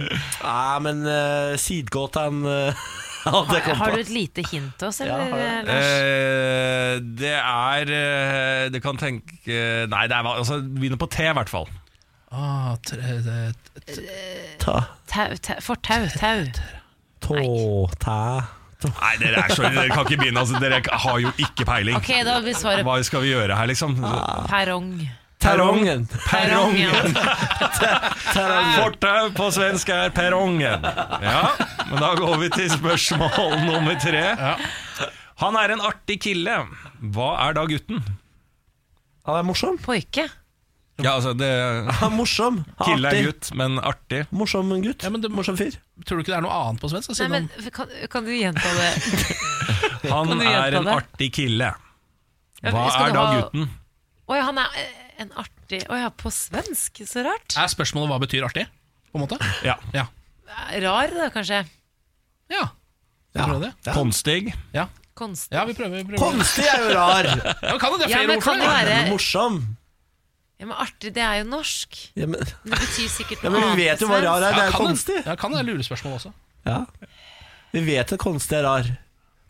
Speaker 1: nei, men uh, sidgåten eh, hadde jeg
Speaker 3: Har,
Speaker 1: kommet
Speaker 3: har
Speaker 1: på.
Speaker 3: du et lite hint til oss, eller? eh, Lars?
Speaker 13: Eh, det er eh, Det kan tenke Nei, det er hva- altså, det begynner på T, i hvert fall.
Speaker 2: Ah, tre, det-
Speaker 1: Ta.
Speaker 3: Eh, Tau, tau, fortau, tau.
Speaker 1: Tå, tæ
Speaker 13: Nei, dere er så Dere kan ikke begynne. Altså, dere har jo ikke peiling.
Speaker 3: Ok, da Ah. blir svaret
Speaker 13: Hva skal vi gjøre her, liksom?
Speaker 3: perrong.
Speaker 13: Perrongen.
Speaker 3: Perrongen.
Speaker 13: Fortau på svensk er perrongen. Ja, men da går vi til spørsmål nummer tre. Han er en artig kille. Hva er da gutten?
Speaker 1: Han er morsom.
Speaker 3: Poike.
Speaker 13: Ja, altså det
Speaker 1: Han er morsom.
Speaker 13: Kille
Speaker 1: Artig.
Speaker 13: er gutt, men artig.
Speaker 1: Morsom gutt. morsom fyr.
Speaker 2: Tror du ikke det er noe annet på svensk? Altså, da,
Speaker 3: Nei,
Speaker 2: siden
Speaker 3: men kan, kan du gjenta det?
Speaker 13: Han
Speaker 3: Kan du gjenta
Speaker 13: er en
Speaker 3: det?
Speaker 13: artig kille.
Speaker 3: Ja,
Speaker 13: Hva
Speaker 3: skal
Speaker 13: er
Speaker 3: du
Speaker 13: da
Speaker 3: ha-
Speaker 13: gutten?
Speaker 3: Oi, han er eh, en artig Oi, ja, på svensk? Så rart.
Speaker 2: han- Er spørsmålet hva betyr artig? På en måte?
Speaker 13: Ja.
Speaker 3: Rar, da, kanskje.
Speaker 2: Ja. Tror du det?
Speaker 13: Konstig.
Speaker 2: Ja.
Speaker 3: Konstig.
Speaker 2: Ja, vi prøver. prøver.
Speaker 1: Konstig er jo rar.
Speaker 2: Ja, men kan det, det er
Speaker 3: Ja,
Speaker 2: flere
Speaker 3: men
Speaker 2: ord for
Speaker 3: kan
Speaker 2: det.
Speaker 3: det være-
Speaker 1: Morsom.
Speaker 3: Ja, men artig, det er jo norsk.
Speaker 1: Ja, men,
Speaker 3: Men Det betyr sikkert
Speaker 1: Ja, men
Speaker 3: noe
Speaker 1: vi
Speaker 3: annet.
Speaker 1: vet jo
Speaker 3: på
Speaker 1: hva rar er. Det
Speaker 3: svensk.
Speaker 1: er
Speaker 2: kan det-
Speaker 1: konstig.
Speaker 2: Ja, kan det være lurespørsmål også?
Speaker 1: Ja. Vi vet at konstig er rar.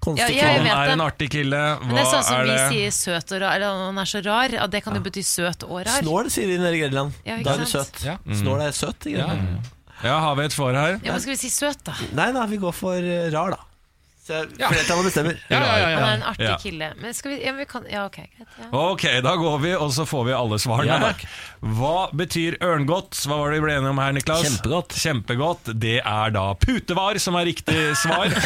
Speaker 1: Konstig
Speaker 3: Ja, jeg
Speaker 1: kille.
Speaker 3: vet
Speaker 13: Han er
Speaker 3: det.
Speaker 13: en artig kille.
Speaker 3: Men det
Speaker 13: Hva
Speaker 3: er sånn som
Speaker 13: er
Speaker 3: vi
Speaker 13: det?
Speaker 3: sier søt og rar, eller han er så rar. Ja, det kan jo bety søt og rar.
Speaker 1: Snål, sier de nede i Grenland.
Speaker 3: Ja, ikke
Speaker 1: da er du
Speaker 3: sant?
Speaker 1: søt.
Speaker 2: Ja.
Speaker 1: Snål er søt i
Speaker 2: Ja,
Speaker 1: Grenland.
Speaker 13: Mm. Ja, har vi et svar her?
Speaker 3: Ja, men skal vi si søt, da?
Speaker 1: Nei, nei, vi går for eh, rar, da. Så
Speaker 2: Ja.
Speaker 1: Flertallet bestemmer.
Speaker 2: Ja, ja, ja,
Speaker 3: Han
Speaker 2: ja.
Speaker 3: er en artig
Speaker 13: Ja.
Speaker 3: kille. Men skal vi Ja, men vi kan Ja, ok, greit. Ja.
Speaker 13: Ok, da går vi, og så får vi alle svarene.
Speaker 1: Ja, takk.
Speaker 13: Hva betyr ørngodt? Hva var det vi ble enige om her, Niklas?
Speaker 1: Kjempegodt.
Speaker 13: Kjempegodt. Det er da putevar som er riktig svar.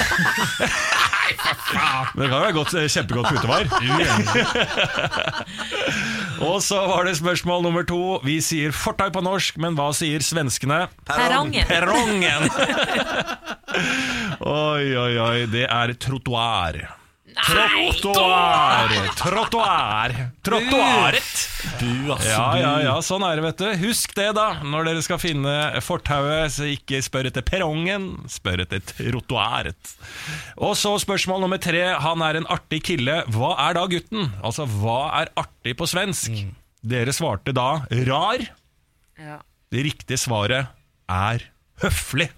Speaker 13: Nei, Det kan jo være godt, eh, kjempegodt putevar. og så var det spørsmål nummer to. Vi sier fortau på norsk, men hva sier svenskene?
Speaker 3: Perrongen.
Speaker 13: Perrongen! oi, oi, oi. Det er trottoar. Trottoar! Trottoar! Trottoaret!
Speaker 1: Bu, ass.
Speaker 13: Ja, ja,
Speaker 1: bu.
Speaker 13: ja, sånn er det, vet du. Husk det, da, når dere skal finne fortauet. Så ikke spør etter perrongen, spør etter trottoaret. Og så spørsmål nummer tre. Han er en artig kille. Hva er da gutten? Altså, hva er artig på svensk? Dere svarte da rar.
Speaker 3: Ja.
Speaker 13: Det riktige svaret er høflig.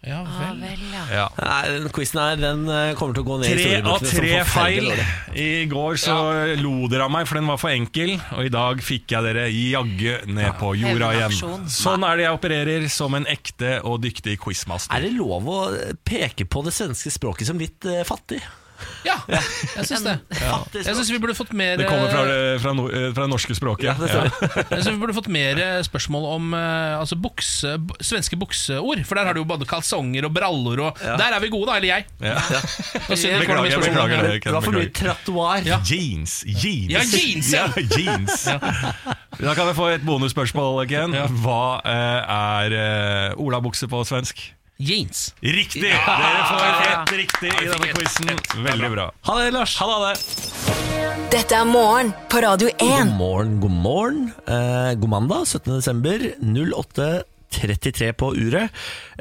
Speaker 2: Ja
Speaker 3: Ja,
Speaker 2: vel.
Speaker 3: vel, ja.
Speaker 13: Ja.
Speaker 1: Nei, den quizen her den eh, kommer til å gå ned i
Speaker 13: Tre av
Speaker 1: historiebøkene som
Speaker 13: tre
Speaker 1: forferdelig
Speaker 13: feil.
Speaker 1: dårlig.
Speaker 13: I går så lo dere av meg, for den var for enkel. Og i dag fikk jeg dere jaggu ned på jorda
Speaker 3: Hevnaksjon.
Speaker 13: igjen. Sånn er det jeg opererer, som en ekte og dyktig
Speaker 1: Er
Speaker 13: quizmaster.
Speaker 1: det lov å peke på det svenske språket som litt eh, fattig?
Speaker 2: Ja, jeg syns det.
Speaker 1: Fattig
Speaker 2: Jeg
Speaker 1: språk.
Speaker 2: syns vi burde fått mer
Speaker 13: Det kommer fra det, fra no, fra det norske språket.
Speaker 1: det ser
Speaker 2: Jeg synes Vi burde fått mer eh, spørsmål om eh, altså bukse, b svenske bukseord. For der har du jo både kalsonger og brallor og Der er vi gode, da. Eller jeg.
Speaker 13: Ja. Ja.
Speaker 2: Da synes jeg det kommer mye
Speaker 13: Beklager,
Speaker 2: spørsmål.
Speaker 13: beklager det.
Speaker 1: Det var for mye trattoir.
Speaker 2: Ja.
Speaker 13: Jeans. Jeans.
Speaker 2: Ja, jeans, ja.
Speaker 13: jeans. Da kan vi få et bonusspørsmål, Ken. Hva eh, er eh, olabukse på svensk?
Speaker 2: Jeans.
Speaker 13: Riktig! Dere får helt riktig i denne quizen. Veldig bra.
Speaker 1: Ha det, Lars. Ha det.
Speaker 4: Dette er morgen på Radio
Speaker 1: God
Speaker 4: 1.
Speaker 1: morgen, god morgen. Eh, god mandag, 17. desember, 08.33 på uret.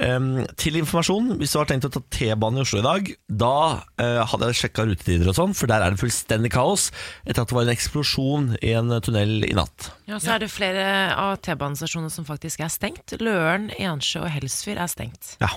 Speaker 1: Em, til informasjon, hvis du har tenkt å ta T-banen i Oslo i dag, da eh, hadde jeg sjekka rutetider og sånn, for der er det fullstendig kaos etter at det var en eksplosjon i en tunnel i natt.
Speaker 3: Ja, så er det flere av T-banestasjonene som faktisk er stengt. Løren, Ensjø og Helsfyr er stengt.
Speaker 1: Ja.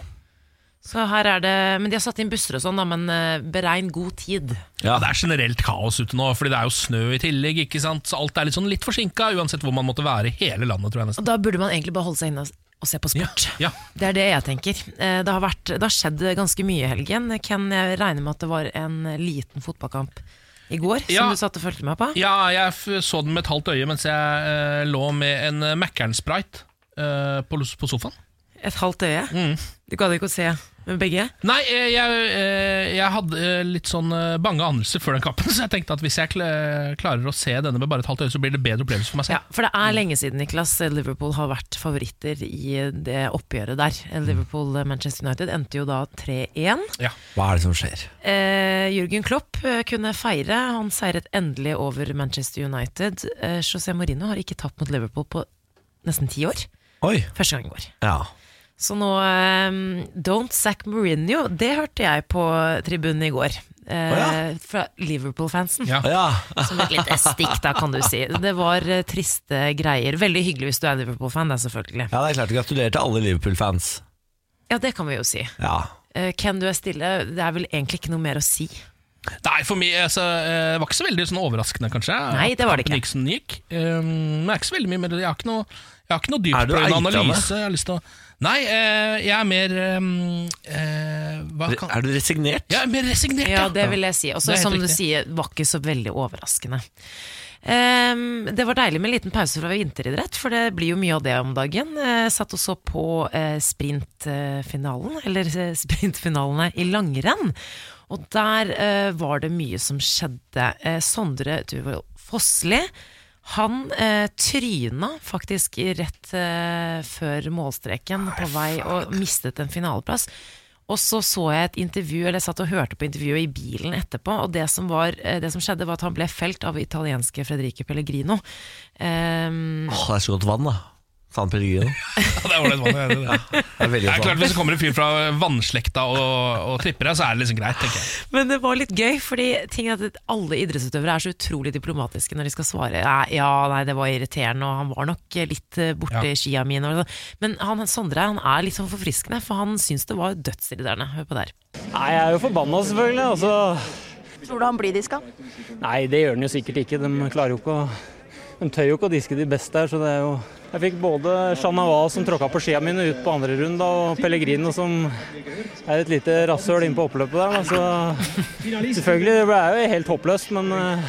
Speaker 3: Så her er det, Men de har satt inn busser og sånn, da, men eh, beregn god tid.
Speaker 2: Ja, Det er generelt kaos ute nå, fordi det er jo snø i tillegg. ikke sant? Så alt er litt sånn litt forsinka, uansett hvor man måtte være i hele landet, tror jeg
Speaker 3: Og
Speaker 2: nesten.
Speaker 3: Da burde man egentlig bare holde seg inne og s- og se på sport.
Speaker 2: Ja.
Speaker 3: Det er det jeg tenker. Eh, Det har, vært, det har skjedd ganske mye i helgen. Ken, jeg regner med at det var en liten fotballkamp i går
Speaker 2: Ja.
Speaker 3: som du satt og fulgte med på?
Speaker 2: ja, jeg f så den med et halvt øye mens jeg eh, lå med en eh, Mækkern-sprite eh, på, på sofaen. Mm.
Speaker 3: Et halvt øye? Du gadd ikke å se? med begge?
Speaker 2: Nei, eh, jeg, eh, jeg hadde eh, litt sånn eh, bange anelser før den kampen, så jeg tenkte at hvis jeg kl- klarer å se denne med bare et halvt øye, så blir det bedre opplevelse for meg selv.
Speaker 3: For det er lenge siden Niklas eh, Liverpool har vært favoritter i eh, det oppgjøret der. Eh, Liverpool-Manchester United endte jo da 3-1.
Speaker 1: Hva er det som skjer?
Speaker 3: Eh, Jürgen Klopp eh, kunne feire. Han seiret endelig over Manchester United. Eh, José Mourinho har ikke tapt mot Liverpool på nesten ti år. Første gang i går.
Speaker 1: Ja.
Speaker 3: Så nå eh, Don't sack Mourinho, det hørte jeg på tribunen i går. Eh, Fra Liverpool-fansen. Som et lite stikk, da, kan du si. Det var eh, triste greier. Veldig hyggelig hvis du er Liverpool-fan, da, selvfølgelig.
Speaker 1: Ja, det er klart. Gratulerer til alle Liverpool-fans.
Speaker 3: Ja, det kan vi jo si.
Speaker 1: Ja.
Speaker 3: Eh, Ken, du er stille. Det er vel egentlig ikke noe mer å si.
Speaker 2: Nei, for meg, altså, eh, det var ikke så veldig sånn overraskende, kanskje.
Speaker 3: Nei, det var det
Speaker 2: at Nixon gikk. Um, men det er ikke så veldig mye mer. Jeg har ikke noe, jeg har ikke noe
Speaker 1: Er du
Speaker 2: dyptprøvende
Speaker 1: eitrende?
Speaker 2: analyse. Jeg har lyst til å... Nei, eh, jeg er mer um, eh, hva kan...
Speaker 1: Er du resignert?
Speaker 2: Jeg er mer resignert,
Speaker 3: Ja, det vil jeg si.
Speaker 2: Det
Speaker 3: Også,
Speaker 2: er helt
Speaker 3: som du
Speaker 2: riktig.
Speaker 3: sier, var ikke så veldig overraskende. Ehm, det var deilig med en liten pause fra vinteridrett, for det blir jo mye av det om dagen. Eh, satt og så på eh, sprintfinalen, eller eh, sprintfinalene i langrenn. Og der eh, var det mye som skjedde. Eh, Sondre Duvold Fossli, han eh, tryna faktisk rett eh, før målstreken på vei og mistet en finaleplass. Og så så jeg et intervju, eller jeg satt og hørte på intervjuet i bilen etterpå, og det som, var, eh, det som skjedde var at han ble felt av italienske Fredrike Pellegrino. Ehm,
Speaker 1: Åh, det er så godt vann, da. San Pellegrino.
Speaker 2: Ja, det er ålreit vann. Det er det.
Speaker 1: Det er
Speaker 2: Det
Speaker 1: veldig
Speaker 2: er klart
Speaker 1: godt vann.
Speaker 2: Hvis det kommer en fyr fra vannslekta og, og tripper deg, så er det liksom greit. tenker jeg
Speaker 3: men det var litt gøy, fordi ting er at alle idrettsutøvere er så utrolig diplomatiske når de skal svare «Nei, ja, nei, det var irriterende, og han var nok eh, litt eh, borte
Speaker 2: Ja.
Speaker 3: i skia mine. og sånn». Men han, Sondre han er litt sånn forfriskende, for han syns det var dødsirriterende. Hør på der.
Speaker 14: Nei, jeg er jo forbanna selvfølgelig. og så-
Speaker 15: Tror du han blir diska?
Speaker 14: Nei, det gjør den jo sikkert ikke. De klarer jo ikke å de tør jo ikke å diske de beste her, så det er jo Jeg fikk både Chanava som tråkka på skia mine ut på andre runde, da, og Pellegrino som er et lite rasshøl inne på oppløpet der. Da, så selvfølgelig, det ble jo helt håpløst, men eh,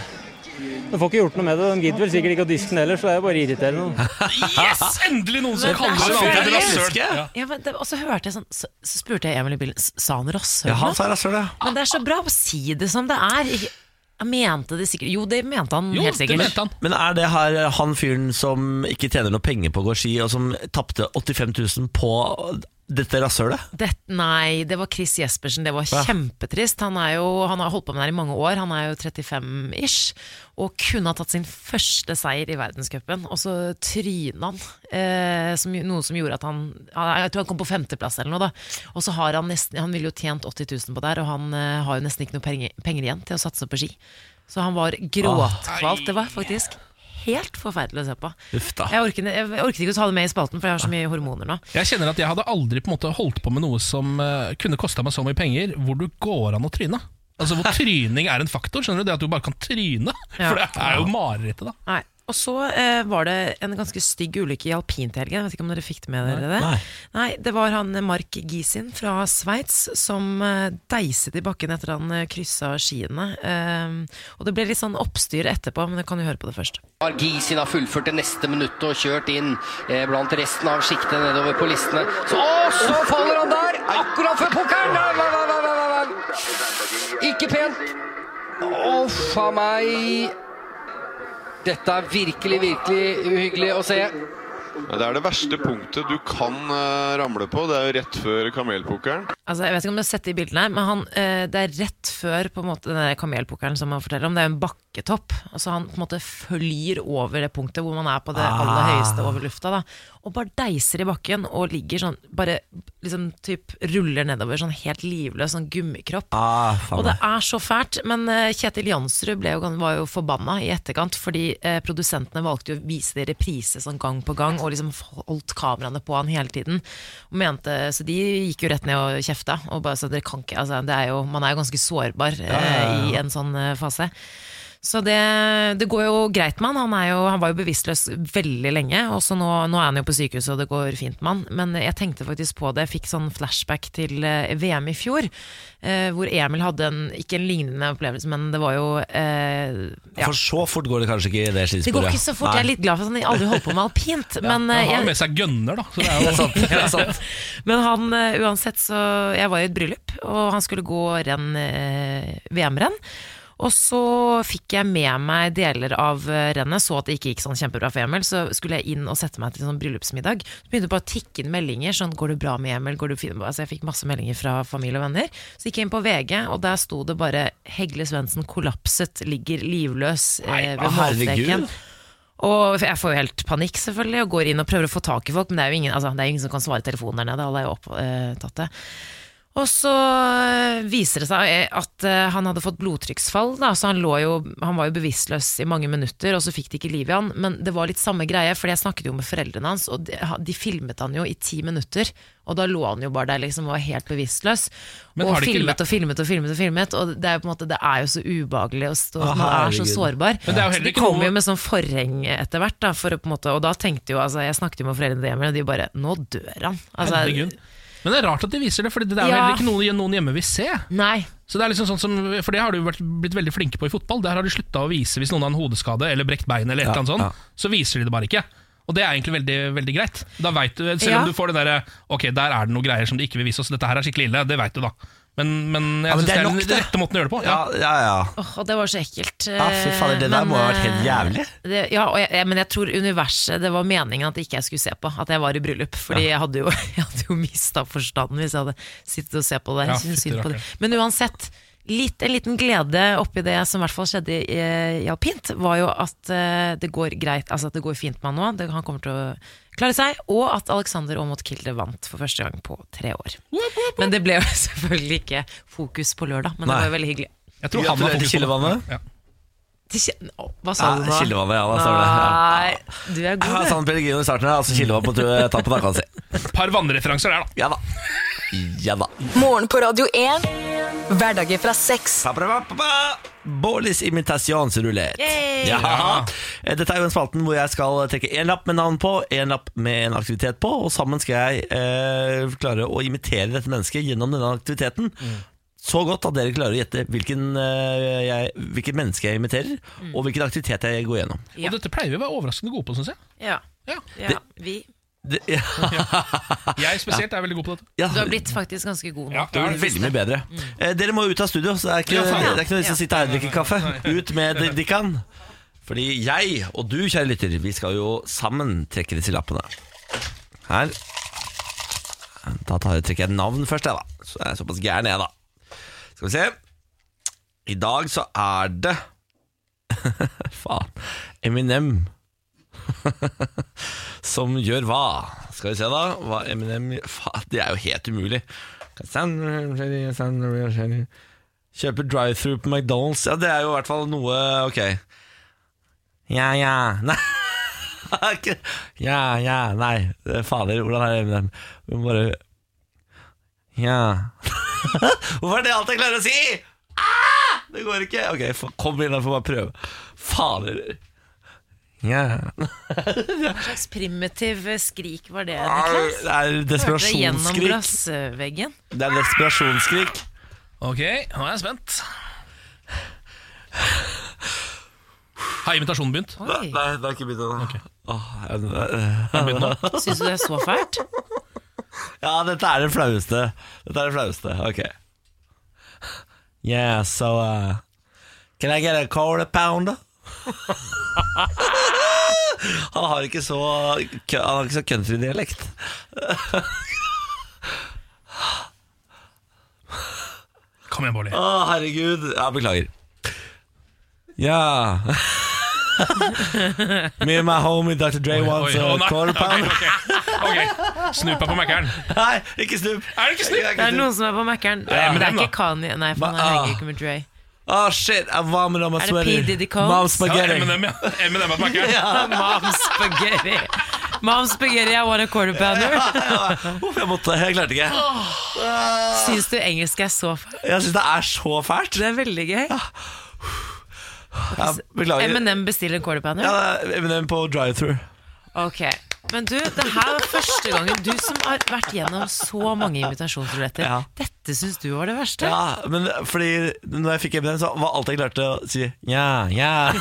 Speaker 14: de får ikke gjort noe med det. De gidder vel sikkert ikke å diske den heller, så det er jo bare irriterende.
Speaker 2: Yes! Endelig noen som
Speaker 3: Men det er
Speaker 2: kaller
Speaker 3: så
Speaker 2: det
Speaker 3: fælt.
Speaker 2: andre rasshøl.
Speaker 3: Ja. Ja, men det, og så hørte jeg sånn Så, så spurte jeg Emil i bilen S- Sa han rasshøl?
Speaker 1: Ja, han
Speaker 3: nå?
Speaker 1: sa rasshøl, ja.
Speaker 3: Men det er så bra å si det som det er. Ikke, jeg mente det sikkert Jo, det mente han Mm, helt sikkert.
Speaker 1: Men er det her eh, han fyren som ikke tjener noe penger på å gå ski, og som tapte 85 000 på dette rasshølet?
Speaker 3: Det, nei, det var Chris Jespersen. Det var
Speaker 1: Ja.
Speaker 3: kjempetrist. Han, er jo, han har holdt på med det her i mange år. Han er jo 35-ish og kunne ha tatt sin første seier i verdenscupen. Og så tryna han, eh, som, noe som gjorde at han Jeg tror han kom på femteplass eller noe, da. Og så har han nesten Han ville jo tjent 80 000 på det her, og han eh, har jo nesten ikke noe penger, penger igjen til å satse på ski. Så han var gråtkvalt. Det var faktisk helt forferdelig å se på.
Speaker 1: Uff da.
Speaker 3: Jeg orket, jeg orket ikke å ta det med i spalten, for jeg har så mye hormoner nå.
Speaker 2: Jeg kjenner at jeg hadde aldri på en måte holdt på med noe som eh, kunne kosta meg så mye penger, hvor du går an å tryne. Altså Hvor tryning er en faktor. Skjønner du Det at du bare kan tryne.
Speaker 3: Ja.
Speaker 2: For det er jo marerittet, da.
Speaker 3: Nei. Og så eh, var det en ganske stygg ulykke i alpint i helgen. Jeg Vet ikke om dere fikk det med dere det?
Speaker 2: Nei.
Speaker 3: Nei, det var han eh, Mark Gisin fra Sveits som eh, deiset i bakken etter han eh, kryssa skiene. Ehm, og det ble litt sånn oppstyr etterpå, men dere kan jo høre på det først.
Speaker 16: Argisin har fullført det neste minuttet og kjørt inn eh, blant resten av sjiktet nedover på listene. Så, å, så faller han der! Akkurat før pokeren! Nei, nei, nei, nei, nei, nei. Ikke pent. Å, fa meg. Dette er virkelig, virkelig uhyggelig å se.
Speaker 17: Det er det verste punktet du kan eh, ramle på. Det er jo rett før kamelpokeren.
Speaker 3: Altså, jeg vet ikke om du har sett de bildene, her, men han, eh, det er rett før på en måte, den der kamelpokeren som han forteller om. Det er en bakketopp. Altså, han på en måte flyr over det punktet hvor man er på det aller
Speaker 18: Ah.
Speaker 3: høyeste over lufta. Da, og bare deiser i bakken og ligger sånn, bare liksom typ ruller nedover sånn helt livløs, sånn gummikropp.
Speaker 1: Ah, faen
Speaker 3: Og det
Speaker 1: meg.
Speaker 3: er så fælt, men eh, Kjetil Jansrud ble jo, gan- var jo forbanna i etterkant, fordi eh, produsentene valgte jo å vise det i reprise sånn gang på gang, og liksom holdt kameraene på han hele tiden. Og mente, så de gikk jo rett ned og kjefta. Og bare, så dere kan ikke, altså, det er jo, man er jo ganske sårbar eh,
Speaker 1: ja, ja.
Speaker 3: i en sånn eh, fase. Så det, det går jo greit med han. Han, er jo, han var jo bevisstløs veldig lenge, og så nå, nå er han jo på sykehuset, og det går fint med han. Men jeg tenkte faktisk på det. Jeg fikk sånn flashback til eh, VM i fjor, eh, hvor Emil hadde en, ikke en lignende opplevelse, men det var jo eh, ja.
Speaker 1: For så fort går det kanskje ikke i det skisporet.
Speaker 3: Det går ikke så fort. Jeg er litt glad for at han aldri holdt på med alpint. Men, eh,
Speaker 2: Han har
Speaker 3: jeg-
Speaker 2: jo med seg gønner, da. Så det er jo
Speaker 3: Det er sant, det er sant. Men han, eh, uansett så Jeg var i et bryllup, og han skulle gå renn, eh, VM-renn. Og så fikk jeg med meg deler av eh, rennet, så at det ikke gikk sånn kjempebra for Emil. Så skulle jeg inn og sette meg til en sånn bryllupsmiddag. Så begynte det bare å tikke inn meldinger. sånn, går det bra med Emil? Går det fint? Altså, jeg fikk masse meldinger fra familie og venner. Så gikk jeg inn på VG, og der sto det bare 'Hegle Svendsen kollapset, ligger livløs eh, ved
Speaker 1: herregud.
Speaker 3: målstreken'. Og jeg får jo helt panikk selvfølgelig og går inn og prøver å få tak i folk, men det er jo ingen, altså, det er jo ingen som kan svare telefonen der nede. Alle er jo opptatt det. Og så eh, viser det seg eh, at eh, han hadde fått blodtrykksfall, da, så han, lå jo, han var jo bevisstløs i mange minutter, og så fikk de ikke liv i han. Men det var litt samme greie, for jeg snakket jo med foreldrene hans, og de, ha- de filmet han jo i ti minutter. Og da lå han jo bare der liksom og var helt bevisstløs.
Speaker 2: Men
Speaker 3: Og
Speaker 2: har de ikke
Speaker 3: filmet
Speaker 2: læ-
Speaker 3: og filmet og filmet. Og filmet Og det er jo på en måte Det er jo så ubehagelig å stå
Speaker 2: Å,
Speaker 3: Man er så
Speaker 2: herregud.
Speaker 3: sårbar.
Speaker 2: Men det er jo
Speaker 3: Så
Speaker 2: heller
Speaker 3: de
Speaker 2: ikke
Speaker 3: kom
Speaker 2: noe-
Speaker 3: jo med sånn forheng etter hvert, da, for å på en måte, og da tenkte jo altså, Jeg snakket jo med foreldrene hjemme, og de bare Nå dør han! Altså,
Speaker 2: Herregud. Men det er rart at de viser det, for det er jo
Speaker 3: Ja.
Speaker 2: heller ikke noe noen hjemme vil se.
Speaker 3: Nei.
Speaker 2: Så det er liksom sånn som, For det har du vært, blitt veldig flinke på i fotball. Der har de slutta å vise hvis noen har en hodeskade eller brekt bein, eller et
Speaker 13: Ja,
Speaker 2: eller annet sånt,
Speaker 13: ja.
Speaker 2: så viser de det bare ikke. Og det er egentlig veldig, veldig greit. Da vet du, Selv
Speaker 1: Ja.
Speaker 2: om du får det derre Ok, der er det noen greier som de ikke vil vise oss, dette her er skikkelig ille, det veit du da. Men, men jeg
Speaker 1: Ja, men
Speaker 2: synes
Speaker 1: det
Speaker 2: det
Speaker 1: er
Speaker 2: er,
Speaker 1: nok,
Speaker 2: den
Speaker 1: det.
Speaker 2: rette måten å gjøre det på.
Speaker 1: Ja, ja, ja.
Speaker 3: Åh, det var så ekkelt.
Speaker 1: Ja, fy fader, det der
Speaker 3: Men,
Speaker 1: må ha vært helt
Speaker 3: eh,
Speaker 1: jævlig.
Speaker 3: Det, ja, og jeg, jeg, men jeg tror universet Det var meningen at ikke jeg skulle se på, at jeg var i bryllup. Fordi jeg hadde jo, jeg hadde jo mista forstanden hvis jeg hadde sittet og sett på det.
Speaker 2: Ja,
Speaker 3: Jeg
Speaker 2: fytti
Speaker 3: synes synd på det.
Speaker 2: rakkeren.
Speaker 3: Men uansett, litt, en liten glede oppi det som i hvert fall skjedde i, eh, i alpint, var jo at eh, det går greit, altså at det går fint med han nå. Det, han kommer til å klare seg. Og at Alexander Aamodt Kilde vant for første gang på tre år. Men det ble jo selvfølgelig ikke fokus på lørdag, men
Speaker 1: Nei.
Speaker 3: det var jo veldig hyggelig.
Speaker 2: Jeg tror han har
Speaker 1: Gratulerer til
Speaker 2: fokus på det.
Speaker 1: Kildevannet.
Speaker 3: Til kje- Å, Hva sa du
Speaker 1: Ja,
Speaker 3: nå?
Speaker 1: kildevannet, ja, da står det. Ja.
Speaker 3: Nei, du er god,
Speaker 1: Ja,
Speaker 3: du.
Speaker 1: San Pellegrino i starten her, altså kildevann på tu- tappen av kassa si.
Speaker 2: Par vannreferanser der, da.
Speaker 1: Ja da. Ja da.
Speaker 4: Morgen på Radio 1. Hverdager fra seks.
Speaker 1: Bårlis imitasjonsrulett.
Speaker 4: Yay!
Speaker 1: Ja. Eh, Dette er jo en spalten hvor jeg skal trekke én lapp med navn på, én lapp med en aktivitet på, og sammen skal jeg eh, klare å imitere dette mennesket gjennom denne aktiviteten. Så godt at dere klarer å gjette hvilken, eh, jeg, hvilket menneske jeg imiterer, og hvilken aktivitet jeg går gjennom.
Speaker 2: Og dette pleier vi å være overraskende gode på, syns jeg.
Speaker 3: Ja.
Speaker 2: Ja.
Speaker 3: ja, vi.
Speaker 1: Det, ja.
Speaker 2: Jeg spesielt er veldig god på dette.
Speaker 1: Ja.
Speaker 3: Du har blitt faktisk ganske god nå.
Speaker 1: Det blir veldig mye bedre. Eh, dere må ut av studio, så det er ikke,
Speaker 3: Ja, faen.
Speaker 1: det er ikke noe vits i å sitte her og drikke kaffe. Ut med det de kan. Fordi jeg og du, kjære lytter, vi skal jo sammen trekke disse lappene. Her. Da tar jeg, trekker jeg navn først, jeg, da. Så jeg er såpass gæren, jeg, da. Skal vi se. I dag så er det Faen. Eminem. Som gjør hva? Skal vi se, da. Hva Eminem Faen, det er jo helt umulig. Kjøper drive-through på McDonald's. Ja, det er jo i hvert fall noe Ok. Ja, ja. Nei. Ikke- ja, ja, nei. Eh, Fader, hvordan er det Eminem? Vi må bare Ja. Hvorfor er det alt jeg klarer å si? Ah! Det går ikke. Ok, fa- kom inn, jeg får bare prøve. Fader. Ja.
Speaker 3: Hva slags primitiv skrik var det,
Speaker 1: Au,
Speaker 3: Niklas?
Speaker 1: det er
Speaker 3: Hørte det gjennom
Speaker 1: desperasjonsskrik.
Speaker 3: glassveggen.
Speaker 1: Det er desperasjonsskrik.
Speaker 2: Ok, nå er jeg spent. Har imitasjonen begynt?
Speaker 1: Nei, det har ikke begynt ennå.
Speaker 2: Har den begynt nå?
Speaker 3: Syns du det er så fælt?
Speaker 1: Ja, dette er det flaueste. Dette er det flaueste. Ok. Yeah, so uh, Can I get a quarter pounder? han har ikke så Han har ikke så countrydialekt.
Speaker 2: Kom igjen, Bårli.
Speaker 1: Å, herregud. Ja, beklager. Ja Me and my homie Dr. Dre wants
Speaker 2: oi, å,
Speaker 1: a
Speaker 2: nei.
Speaker 1: quarter pounder.
Speaker 2: Ok, Snup er på Mækkern.
Speaker 1: Nei, ikke snup.
Speaker 2: Er det ikke snup?
Speaker 3: Det er noen som er på Mækkern. Det
Speaker 1: Ja,
Speaker 3: er
Speaker 1: men dem,
Speaker 3: ikke Kanye, nei, for han
Speaker 1: Hva-
Speaker 3: henger ikke med Dre.
Speaker 1: Oh shit, I'm vomit on my
Speaker 3: Er det
Speaker 1: sweater.
Speaker 3: P. Diddy Combs?
Speaker 2: Ja,
Speaker 1: Mom spaghetti.
Speaker 2: M&M, ja. M&M er på Mækkern.
Speaker 1: Ja.
Speaker 3: Mom spaghetti. Mom spaghetti, I want a quarter pounder.
Speaker 1: Uff, jeg måtte, jeg klarte ikke.
Speaker 3: Syns du engelsk er så fælt?
Speaker 1: Jeg syns det er så fælt.
Speaker 3: Det er veldig gøy.
Speaker 1: Ja, beklager.
Speaker 3: M&M bestiller en quarter pounder?
Speaker 1: Ja, det er M&M på drive-thru.
Speaker 3: Ok. Men du, det her var første gangen du som har vært gjennom så mange invitasjonsruletter.
Speaker 1: Ja.
Speaker 3: Dette syns du var det verste?
Speaker 1: Ja, men fordi når jeg fikk M&M, så var alt jeg klarte å si ja, ja.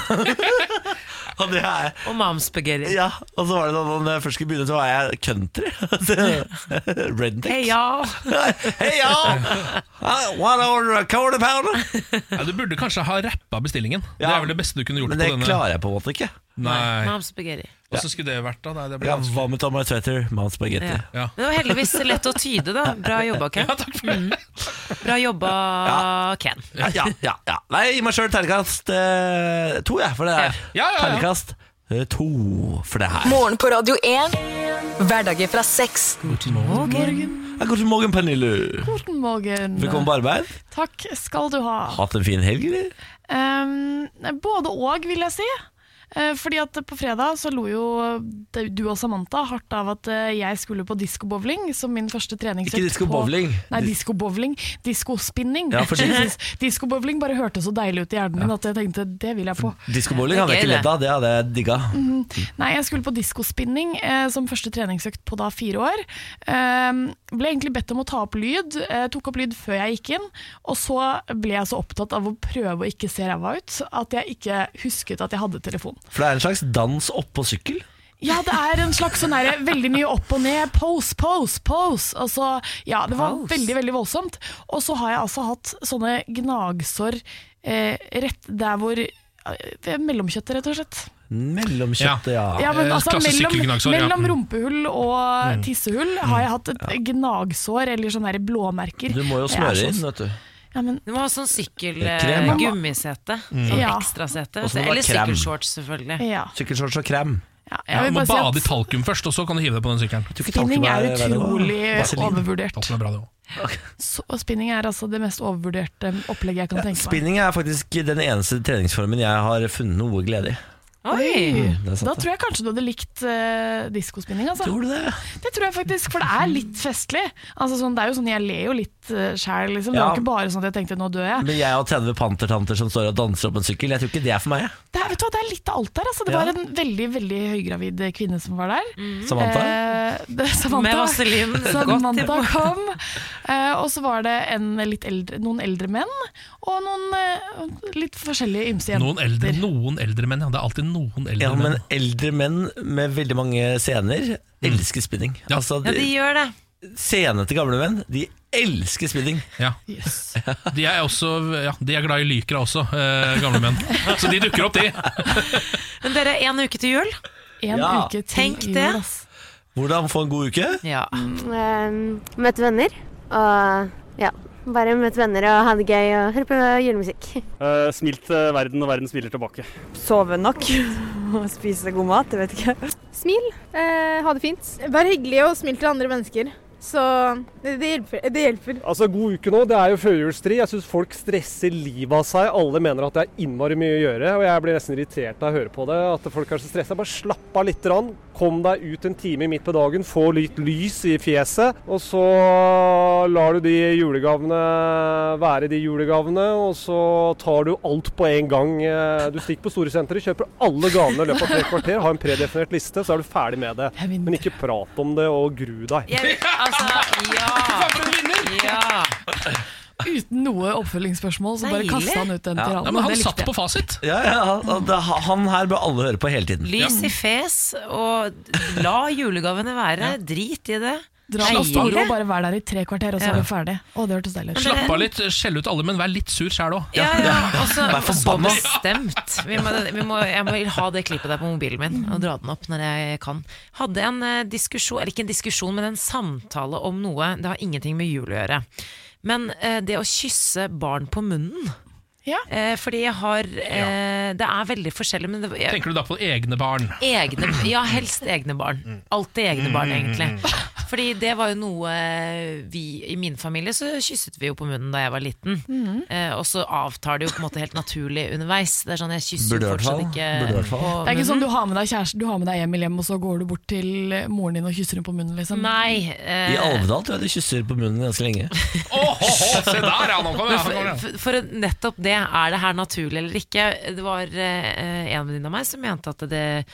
Speaker 1: Og det er
Speaker 3: Og momspagetti.
Speaker 1: Ja, og så var det sånn Når jeg først skulle begynne, så var jeg country. Redneck.
Speaker 3: Hei, ja.
Speaker 1: Hei, ja! One hour, a quarter pounder.
Speaker 2: Ja, du burde kanskje ha rappa bestillingen. Det er vel det beste du kunne gjort.
Speaker 1: Men det
Speaker 2: på denne.
Speaker 1: klarer jeg på en måte ikke.
Speaker 2: Nei.
Speaker 3: Momspagetti.
Speaker 2: Og så skulle det vært da? Nei, det ble
Speaker 1: Ja,
Speaker 2: vanskelig.
Speaker 1: hva med Tom White Sweater? Mount Spaghetti.
Speaker 3: Ja. Men det var heldigvis lett å tyde, da. Bra jobba, Ken. Mm. Bra jobba, Ken.
Speaker 1: Ja, ja, ja, ja. Nei, gi meg sjøl terningkast eh, to, jeg, for det her.
Speaker 4: Ja, ja, ja.
Speaker 1: Terningkast eh, to for det her.
Speaker 4: Morgen på Radio 1. Hverdager fra seks.
Speaker 1: Ja, god morgen, Pernille.
Speaker 15: God morgen.
Speaker 1: Velkommen på arbeid.
Speaker 15: Takk skal du ha.
Speaker 1: Hatt en fin helg, eller?
Speaker 15: Ehm, både og, vil jeg si. Eh, Fordi at på fredag så lo jo du og Samantha hardt av at eh, jeg skulle på diskobowling som min første treningsøkt.
Speaker 1: Ikke disco
Speaker 15: på-
Speaker 1: bowling.
Speaker 15: Nei, diskobowling. Diskospinning.
Speaker 1: Ja, for dis-
Speaker 15: Diskobowling bare hørtes så deilig ut i hjernen min at jeg tenkte det vil jeg på.
Speaker 1: Diskobowling hadde jeg ikke ledd av, det hadde jeg digga.
Speaker 15: Mhm. Nei, jeg skulle på diskospinning eh, som første treningsøkt på da fire år. Ehm, ble egentlig bedt om å ta opp lyd. Eh, tok opp lyd før jeg gikk inn. Og så ble jeg så opptatt av å prøve å ikke se ræva ut at jeg ikke husket at jeg hadde telefon.
Speaker 1: For det er en slags dans oppå sykkel.
Speaker 15: Ja, det er en slags sånn her, veldig mye opp og ned. Pose, pose, pose. Altså, ja, det var veldig, veldig voldsomt. Og så har jeg altså hatt sånne gnagsår eh, rett der hvor eh, Mellomkjøttet, rett og slett.
Speaker 1: Mellomkjøttet, ja. eh,
Speaker 15: Ja, men altså, mellom, mellom
Speaker 1: ja.
Speaker 15: rumpehull og
Speaker 1: Mm.
Speaker 15: tissehull har jeg hatt et gnagsår eller sånne her blåmerker.
Speaker 1: Du må jo
Speaker 15: Og jeg er sånn
Speaker 1: smøre
Speaker 15: så-
Speaker 1: inn, vet du.
Speaker 15: Ja, men,
Speaker 3: Du må ha sånn sykkel
Speaker 1: Det er krem, ja.
Speaker 3: eh, gummisete.
Speaker 1: Mm.
Speaker 3: Sånn
Speaker 15: Ja.
Speaker 3: ekstrasete.
Speaker 1: Og så må det
Speaker 3: Eller
Speaker 1: være krem.
Speaker 3: sykkelshorts, selvfølgelig.
Speaker 15: Ja.
Speaker 1: Sykkelshorts og krem.
Speaker 15: jeg
Speaker 2: Ja,
Speaker 15: vil
Speaker 2: du må
Speaker 15: bare si at-
Speaker 2: bade i talkum først, og så kan du hive deg på den sykkelen.
Speaker 15: Spinning er utrolig
Speaker 2: Vaselin.
Speaker 15: overvurdert.
Speaker 2: Talkum er bra, det også.
Speaker 15: så, og spinning er altså det mest overvurderte um, opplegget jeg kan tenke meg.
Speaker 1: Spinning er faktisk den eneste treningsformen jeg har funnet noe glede i.
Speaker 15: Oi!
Speaker 1: Mm, det er sant,
Speaker 15: Da
Speaker 1: det.
Speaker 15: tror jeg kanskje du hadde likt uh, diskospinning. Altså.
Speaker 1: Tror du det?
Speaker 15: Det tror jeg faktisk, for det er litt festlig. Altså, sånn, det er jo sånn, Jeg ler jo litt uh, sjæl, liksom. Det
Speaker 1: Ja.
Speaker 15: var ikke bare sånn at jeg tenkte nå dør jeg.
Speaker 1: Men jeg og 30 pantertanter som står og danser opp en sykkel, jeg tror ikke det er for meg. jeg.
Speaker 15: Det er, vet du hva, det er litt av alt der. Altså. Det
Speaker 1: Ja.
Speaker 15: var en veldig veldig høygravid eh, kvinne som var der.
Speaker 1: Samantha?
Speaker 15: Eh, det, Samantha.
Speaker 3: Med vaselin godt i
Speaker 15: Samantha
Speaker 3: morgen.
Speaker 15: kom. Eh, og så var det en litt eldre, noen eldre menn og noen eh, litt forskjellige ymse jenter.
Speaker 2: Noen eldre, noen eldre menn, ja. Det er alltid noen eldre
Speaker 1: Ja, men
Speaker 2: menn. Mm.
Speaker 1: eldre menn med veldig mange sener elsker spinning. Altså,
Speaker 3: Ja, de gjør det.
Speaker 1: Senene til gamle menn, de elsker spinning.
Speaker 2: Ja. De er også ja, de er glad i lykra også, eh, gamle menn. Så de dukker opp, de.
Speaker 3: Men dere, én uke til jul.
Speaker 15: En
Speaker 1: Ja. uke til altså.
Speaker 3: Tenk
Speaker 1: jul,
Speaker 3: det.
Speaker 1: Hvordan få en god uke?
Speaker 3: Ja.
Speaker 18: Ehm, møte venner. Og ja, bare møte venner og ha det gøy og høre på julemusikk.
Speaker 19: Eh, smilt til verden, og verden smiler tilbake.
Speaker 20: Sove nok og spise god mat, jeg vet ikke.
Speaker 21: Smil, eh, ha det fint. Vær hyggelig og smil til andre mennesker. Så det, det hjelper. Det hjelper.
Speaker 19: Altså, God uke nå. Det er jo førjulstri. Jeg syns folk stresser livet av seg. Alle mener at det er innmari mye å gjøre, og jeg blir nesten irritert av å høre på det. At folk kanskje stresser. Bare slapp av litt. Rann. Kom deg ut en time midt på dagen, få litt lys i fjeset. Og så lar du de julegavene være de julegavene, og så tar du alt på en gang. Eh, Du stikker på Storesenteret, kjøper alle gavene i løpet av tre kvarter, har en predefinert liste, så er du ferdig med det. Men ikke prat om det og gru deg.
Speaker 3: Jeg, altså, ja. ja.
Speaker 15: Uten noe oppfølgingsspørsmål, så bare
Speaker 3: Deilig.
Speaker 15: kasta han ut den
Speaker 1: Ja.
Speaker 15: tiraden.
Speaker 1: Ja, men han
Speaker 15: Det likte
Speaker 1: satt
Speaker 15: jeg.
Speaker 1: på Ja, ja, og det, Han her bør alle høre på hele tiden.
Speaker 3: Lys i fes, og la julegavene være. Drit i det.
Speaker 15: Dra på
Speaker 3: Deilig.
Speaker 15: Storo og bare være der i tre kvarter, og så
Speaker 3: Ja.
Speaker 15: er vi ferdig. Å, det hørtes deilig ut.
Speaker 2: Slapp av litt, skjell ut alle, men vær litt sur sjæl òg.
Speaker 3: Ja, ja, også,
Speaker 2: Vær forbanna.
Speaker 3: så bestemt. Vi må, vi må, jeg må ha det klippet der på mobilen min og dra den opp når jeg kan. Hadde en eh, diskusjon, eller ikke en diskusjon, men en samtale om noe. Det har ingenting med jul å gjøre. Men eh, det å kysse barn på munnen eh, Fordi jeg har eh, Det er veldig forskjellig, men det, jeg,
Speaker 2: Tenker du da på egne barn?
Speaker 3: Egne, ja, helst egne barn. Alltid egne barn,
Speaker 2: Mm, mm,
Speaker 3: egentlig. Fordi det var jo noe eh, vi I min familie så kysset vi jo på munnen da jeg var liten.
Speaker 15: Mhm.
Speaker 3: Eh, og så avtar det jo på en måte helt naturlig underveis. Det er sånn, jeg kysser
Speaker 1: Burde i
Speaker 3: jo
Speaker 1: hvert
Speaker 3: fortsatt
Speaker 1: fall.
Speaker 3: ikke
Speaker 1: Burde i hvert fall.
Speaker 3: på
Speaker 15: Det er ikke
Speaker 3: munnen.
Speaker 15: sånn du har med deg kjæresten, du har med deg hjem i hjem, og så går du bort til moren din og kysser henne på munnen, liksom.
Speaker 3: Nei. eh,
Speaker 1: I Alvdal tror jeg de kysser på munnen ganske lenge.
Speaker 2: se der, ja! Nå kommer jeg! Nå kommer
Speaker 3: Men
Speaker 2: jeg.
Speaker 3: For, for nettopp det, er det her naturlig eller ikke? Det var eh, en venninne av meg som mente at det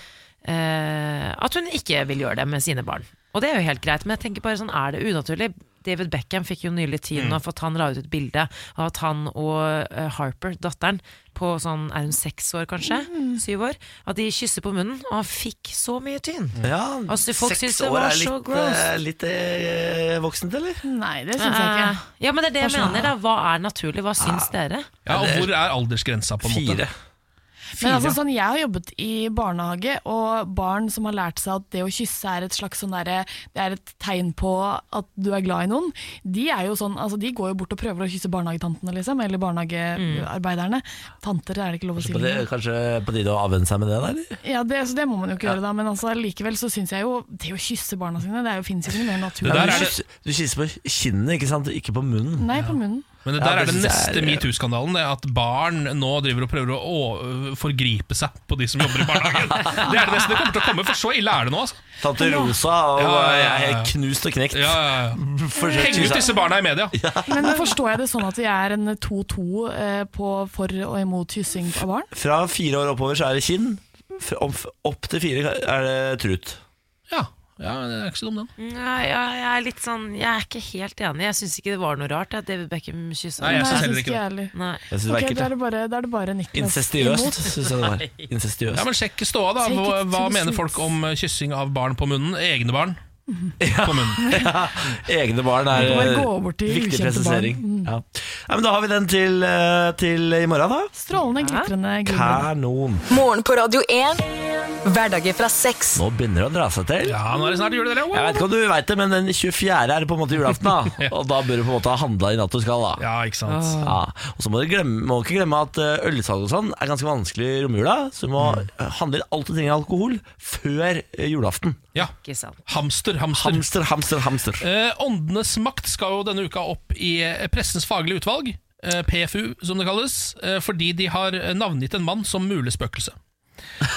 Speaker 3: eh, At hun ikke vil gjøre det med sine barn. Og det er jo helt greit, men jeg tenker bare sånn, er det unaturlig? David Beckham fikk jo nylig tiden
Speaker 5: Mm.
Speaker 3: av at han la ut et bilde av at han og eh, Harper, datteren, på sånn, er hun seks år kanskje?
Speaker 15: Mm.
Speaker 3: Syv år? At de kysser på munnen, og han fikk så mye tyn.
Speaker 15: Mm.
Speaker 1: Ja,
Speaker 3: altså, folk
Speaker 1: seks
Speaker 3: syntes det
Speaker 1: år
Speaker 3: var
Speaker 1: er litt,
Speaker 3: så gross.
Speaker 1: eh, litt eh, voksent, eller?
Speaker 15: Nei, det syns jeg ikke.
Speaker 3: Eh, Ja, men det er det jeg
Speaker 15: Personlig.
Speaker 3: mener, da. Hva er naturlig? Hva
Speaker 1: Ah.
Speaker 3: syns dere?
Speaker 2: Ja, og hvor er aldersgrensa, på en måte? Fire.
Speaker 15: Men altså, sånn, jeg har jobbet i barnehage, og barn som har lært seg at det å kysse er et slags sånn derre- det er et tegn på at du er glad i noen, de, er jo sånn, altså, de går jo bort og prøver å kysse barnehagetantene, liksom, eller barnehagearbeiderne.
Speaker 3: Mm.
Speaker 15: Tanter er det ikke lov å si.
Speaker 1: På det,
Speaker 15: lenger.
Speaker 1: kanskje på tide å avvenne seg med det, da? eller?
Speaker 15: Ja, det, så det må man jo ikke gjøre, da, men altså, likevel så syns jeg jo det å kysse barna sine, det er jo fins ikke noe mer naturlig.
Speaker 1: Ja, du, kysser, du kysser på kinnet, ikke sant? Ikke på munnen.
Speaker 15: Nei, på munnen.
Speaker 2: Men det
Speaker 1: Ja,
Speaker 2: der
Speaker 1: det
Speaker 2: er den
Speaker 1: synes jeg
Speaker 2: neste
Speaker 1: er-
Speaker 2: metoo-skandalen. Det er At barn nå driver og prøver å, å forgripe seg på de som jobber i barnehagen. Det er det neste det kommer til å komme, for så ille er det nå. Altså.
Speaker 1: Tante Rosa og eh, jeg er knust og knekt.
Speaker 2: Ja, ja, ja.
Speaker 1: Forsøk
Speaker 2: Heng
Speaker 1: kysse.
Speaker 2: ut disse barna i media!
Speaker 15: Men forstår jeg det sånn at vi er en 2-2 eh, på for og imot kyssing av barn?
Speaker 1: Fra fire år oppover så er det kinn. Fra- om- Opp til fire er det trut.
Speaker 2: Ja, det er ikke så dum, den.
Speaker 3: Nei, ja, jeg er litt sånn Jeg er ikke helt enig. Jeg syns ikke det var noe rart at David Beckham kyssa
Speaker 1: Nei, jeg synes heller
Speaker 15: synes ikke det.
Speaker 3: det. Nei.
Speaker 1: Jeg synes det var
Speaker 15: Ok,
Speaker 1: ekkelt,
Speaker 15: da
Speaker 1: ja.
Speaker 15: er det bare, da er det bare Niklas imot.
Speaker 1: Incestiøst, syns jeg det var. Incestiøst.
Speaker 2: Ja, men Sjekk ståa, da. Hva,
Speaker 15: Take it to
Speaker 2: hva
Speaker 15: the
Speaker 2: mener folk om eh, kyssing av barn på munnen? Egne barn på munnen.
Speaker 1: Egne barn
Speaker 2: Vi
Speaker 1: er
Speaker 2: kan bare
Speaker 1: eh,
Speaker 2: gå over til
Speaker 1: viktig
Speaker 2: ukjente
Speaker 1: presisering. Ja. ja, men Da har vi den til, eh, til i morgen, da.
Speaker 15: Strålende, glitrende, glimrende.
Speaker 1: Kanon.
Speaker 4: Morgen på Radio 1. Hverdager fra seks.
Speaker 1: Nå begynner det å dra seg til.
Speaker 2: Ja, nå er det snart jul, dere.
Speaker 1: Jeg vet ikke om du vet det, men den 24. er det på en måte julaften. da Og da bør du på en måte ha handla i natt du skal. da
Speaker 2: Ja, ikke sant
Speaker 1: ja. Og så må du glemme, må ikke glemme at eh, ølsalg og sånn er ganske vanskelig i romjula. Så du må
Speaker 2: Mm.
Speaker 1: eh, handle inn alt du trenger av alkohol før eh, julaften.
Speaker 2: Ja. Hamster, hamster.
Speaker 1: Hamster, hamster, hamster.
Speaker 2: Eh, åndenes makt skal jo denne uka opp i eh, pressens faglige utvalg, eh, PFU som det kalles, eh, fordi de har eh, navngitt en mann som mulig spøkelse.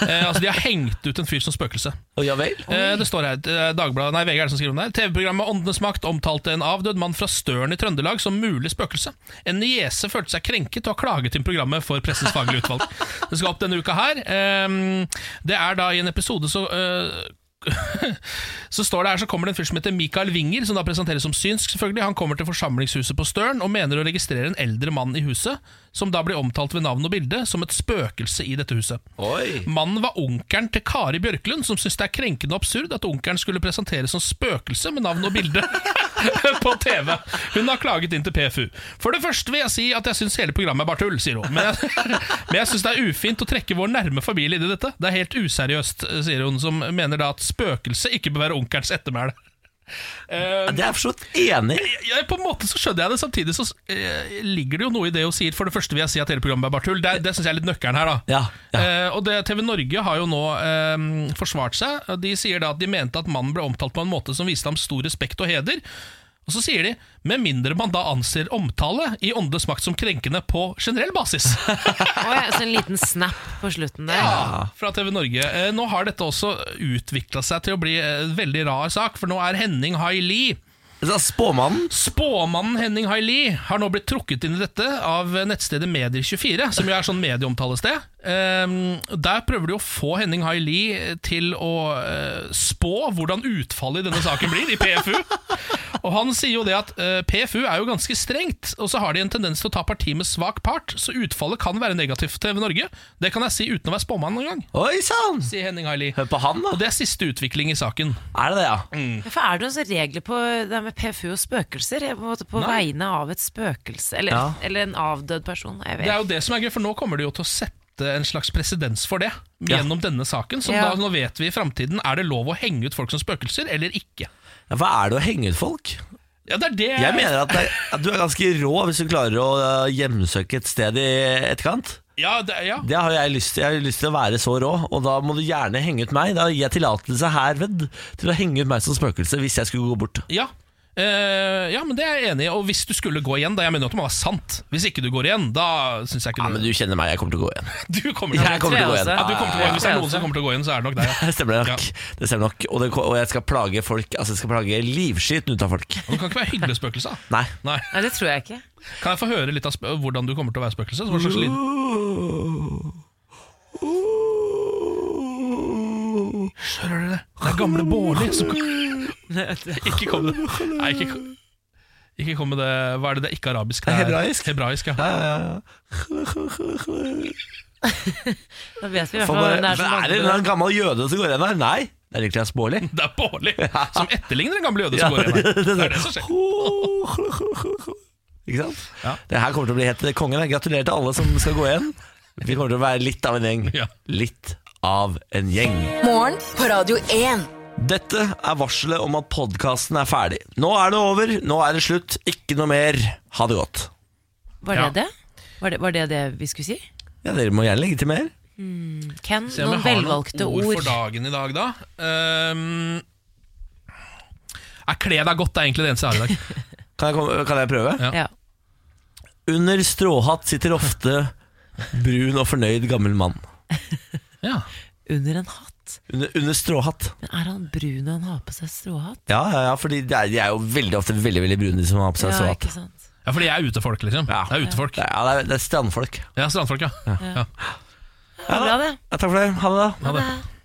Speaker 2: eh, altså De har hengt ut en fyr som spøkelse. Eh, det står her, eh, Dagbladet, nei, VG er det som skriver om det her. TV-programmet Åndenes makt omtalte en avdød mann fra Støren i Trøndelag som mulig spøkelse. En niese følte seg krenket og har klaget inn programmet for pressens faglige utvalg. Det skal opp denne uka her. Eh, det er da i en episode så eh, så står det her så kommer det en fyr som heter Mikael Winger, som da presenteres som synsk. selvfølgelig Han kommer til forsamlingshuset på Støren og mener å registrere en eldre mann i huset, som da blir omtalt ved navn og bilde som et spøkelse i dette huset. Mannen var onkelen til Kari Bjørklund, som syntes det er krenkende og absurd at onkelen skulle presenteres som spøkelse med navn og bilde på TV. Hun har klaget inn til PFU. For det første vil jeg si at jeg syns hele programmet er bare tull, sier hun. Men jeg, men jeg syns det er ufint å trekke vår nærme familie inn i dette. Det er helt useriøst, sier hun, som mener da at spøkelse ikke bør være onkelens ettermæle.
Speaker 1: det er jeg forstått enig i.
Speaker 2: Ja, på en måte så skjønner jeg det. Samtidig så eh, ligger det jo noe i det hun sier. For det første vil jeg si at hele programmet er bare tull. Det, er- det syns jeg er litt nøkkelen her, da. Eh, og det, TV Norge har jo nå eh, forsvart seg. De sier da at de mente at mannen ble omtalt på en måte som viste ham stor respekt og heder. Og så sier de med mindre man da anser omtale i åndenes makt som krenkende på generell basis.
Speaker 3: Å, ja, så en liten snap på slutten der.
Speaker 2: Ja, fra TV Norge. Eh, Nå har dette også utvikla seg til å bli eh, en veldig rar sak, for nå er Henning Haili
Speaker 1: Spåmannen?
Speaker 2: Spåmannen Henning Haili har nå blitt trukket inn i dette av eh, nettstedet Medier24, som jo er sånn medieomtalested. Ehm, Der prøver de å få Henning Haili til å eh, spå hvordan utfallet i denne saken blir, i PFU. Og han sier jo det at eh, PFU er jo ganske strengt, og så har de en tendens til å ta parti med svak part, så utfallet kan være negativt for TV Norge. Det kan jeg si uten å være spåmann noen gang.
Speaker 1: Oi sann!
Speaker 2: Sier Henning Haili.
Speaker 1: Hør på han, da.
Speaker 2: Og det er siste utvikling i saken.
Speaker 1: Er det det, ja?
Speaker 2: Mm.
Speaker 3: Hvorfor er det noen sånne regler på det her med PFU og spøkelser? Jeg er På, en måte på vegne av et spøkelse, eller,
Speaker 2: Ja.
Speaker 3: eller en avdød person. Jeg vet.
Speaker 2: Det er jo det som er gøy, for nå kommer de jo til å sette en slags presedens for det gjennom denne saken. Så
Speaker 3: Ja.
Speaker 2: da, nå vet vi i framtiden er det lov å henge ut folk som spøkelser eller ikke.
Speaker 1: Ja, Hva er det å henge ut folk?
Speaker 2: Ja, det er det
Speaker 1: Jeg mener at, det, er- at du er ganske rå hvis du klarer å eh, hjemsøke et sted i etterkant.
Speaker 2: Ja, det, ja.
Speaker 1: Det har jeg lyst til. Jeg har lyst til å være så rå, og da må du gjerne henge ut meg. Da gir jeg tillatelse herved til å henge ut meg som spøkelse hvis jeg skulle gå bort.
Speaker 2: Ja. Eh, ja, men det er jeg enig i. Og hvis du skulle gå igjen, da jeg mener at det må være sant. Hvis ikke du går igjen, da syns jeg ikke
Speaker 1: Ja, men du kjenner meg, jeg kommer til å gå igjen.
Speaker 2: Du kommer til å,
Speaker 1: Jeg kommer til å gå igjen.
Speaker 2: Ja, du kommer til å gå igjen. Hvis det er
Speaker 1: Ja, ja,
Speaker 2: noen
Speaker 1: ja.
Speaker 2: som kommer til å gå igjen, så er det nok deg.
Speaker 1: Det stemmer nok. Det stemmer nok. Og, det, og jeg skal plage folk Altså jeg skal plage livskiten ut av folk.
Speaker 2: Du kan ikke være hyggelig spøkelse. da.
Speaker 1: Nei.
Speaker 2: Nei.
Speaker 3: det tror jeg ikke.
Speaker 2: Kan jeg få høre litt av spø hvordan du kommer til å være spøkelse? Hva slags lyd? Hører dere det? Det er gamle Bårli som Ikke kom det Nei, ikke, kom- ikke kom med det Hva er det det er ikke arabisk? Det er
Speaker 1: Hebraisk.
Speaker 2: Hebraisk, ja.
Speaker 3: Da vet vi i hvert
Speaker 1: Faen, det,
Speaker 3: fall hvem det er
Speaker 1: men er
Speaker 3: som
Speaker 1: det en eller annen gammel jøde som går igjen her? Nei, det er Niklas Baarli.
Speaker 2: Det er Bårli som etterligner den gamle jøde som går igjen. her. Det er det som skjer.
Speaker 1: Ikke sant? Det her kommer til å bli helt kongen. Gratulerer til alle som skal gå igjen. Vi kommer til å være litt av en gjeng. Litt av en gjeng.
Speaker 4: Morgen på Radio 1.
Speaker 1: Dette er varselet om at podkasten er ferdig. Nå er det over, nå er det slutt. Ikke noe mer. Ha det godt.
Speaker 3: Var det det? Var det, var det det vi skulle si?
Speaker 1: Ja, Dere må gjerne legge til mer.
Speaker 3: Hmm. Ken,
Speaker 2: Mm. Se om
Speaker 3: noen
Speaker 2: jeg har
Speaker 3: velvalgte
Speaker 2: noen
Speaker 3: ord.
Speaker 2: ord for dagen i dag, da. Ehm, jeg kler deg godt, det er egentlig det eneste jeg har i dag.
Speaker 1: Kan jeg, komme- kan jeg prøve?
Speaker 3: Ja.
Speaker 1: Under stråhatt sitter ofte brun og fornøyd gammel mann.
Speaker 3: Under en hatt?
Speaker 1: Under, under stråhatt.
Speaker 3: Men er han brun og han har på seg stråhatt?
Speaker 1: Ja, ja, ja fordi det er, de er jo veldig ofte veldig veldig brune, de som har på seg
Speaker 3: Ja,
Speaker 1: stråhatt.
Speaker 3: ikke sant?
Speaker 2: Ja, fordi jeg er utefolk, liksom. Det er utefolk.
Speaker 1: Ja, det er, det er strandfolk.
Speaker 2: Ja, strandfolk, ja.
Speaker 1: Ja.
Speaker 2: Ja.
Speaker 3: Det er bra, det.
Speaker 1: Ja, takk for det. Ha det, da.
Speaker 2: Ha det.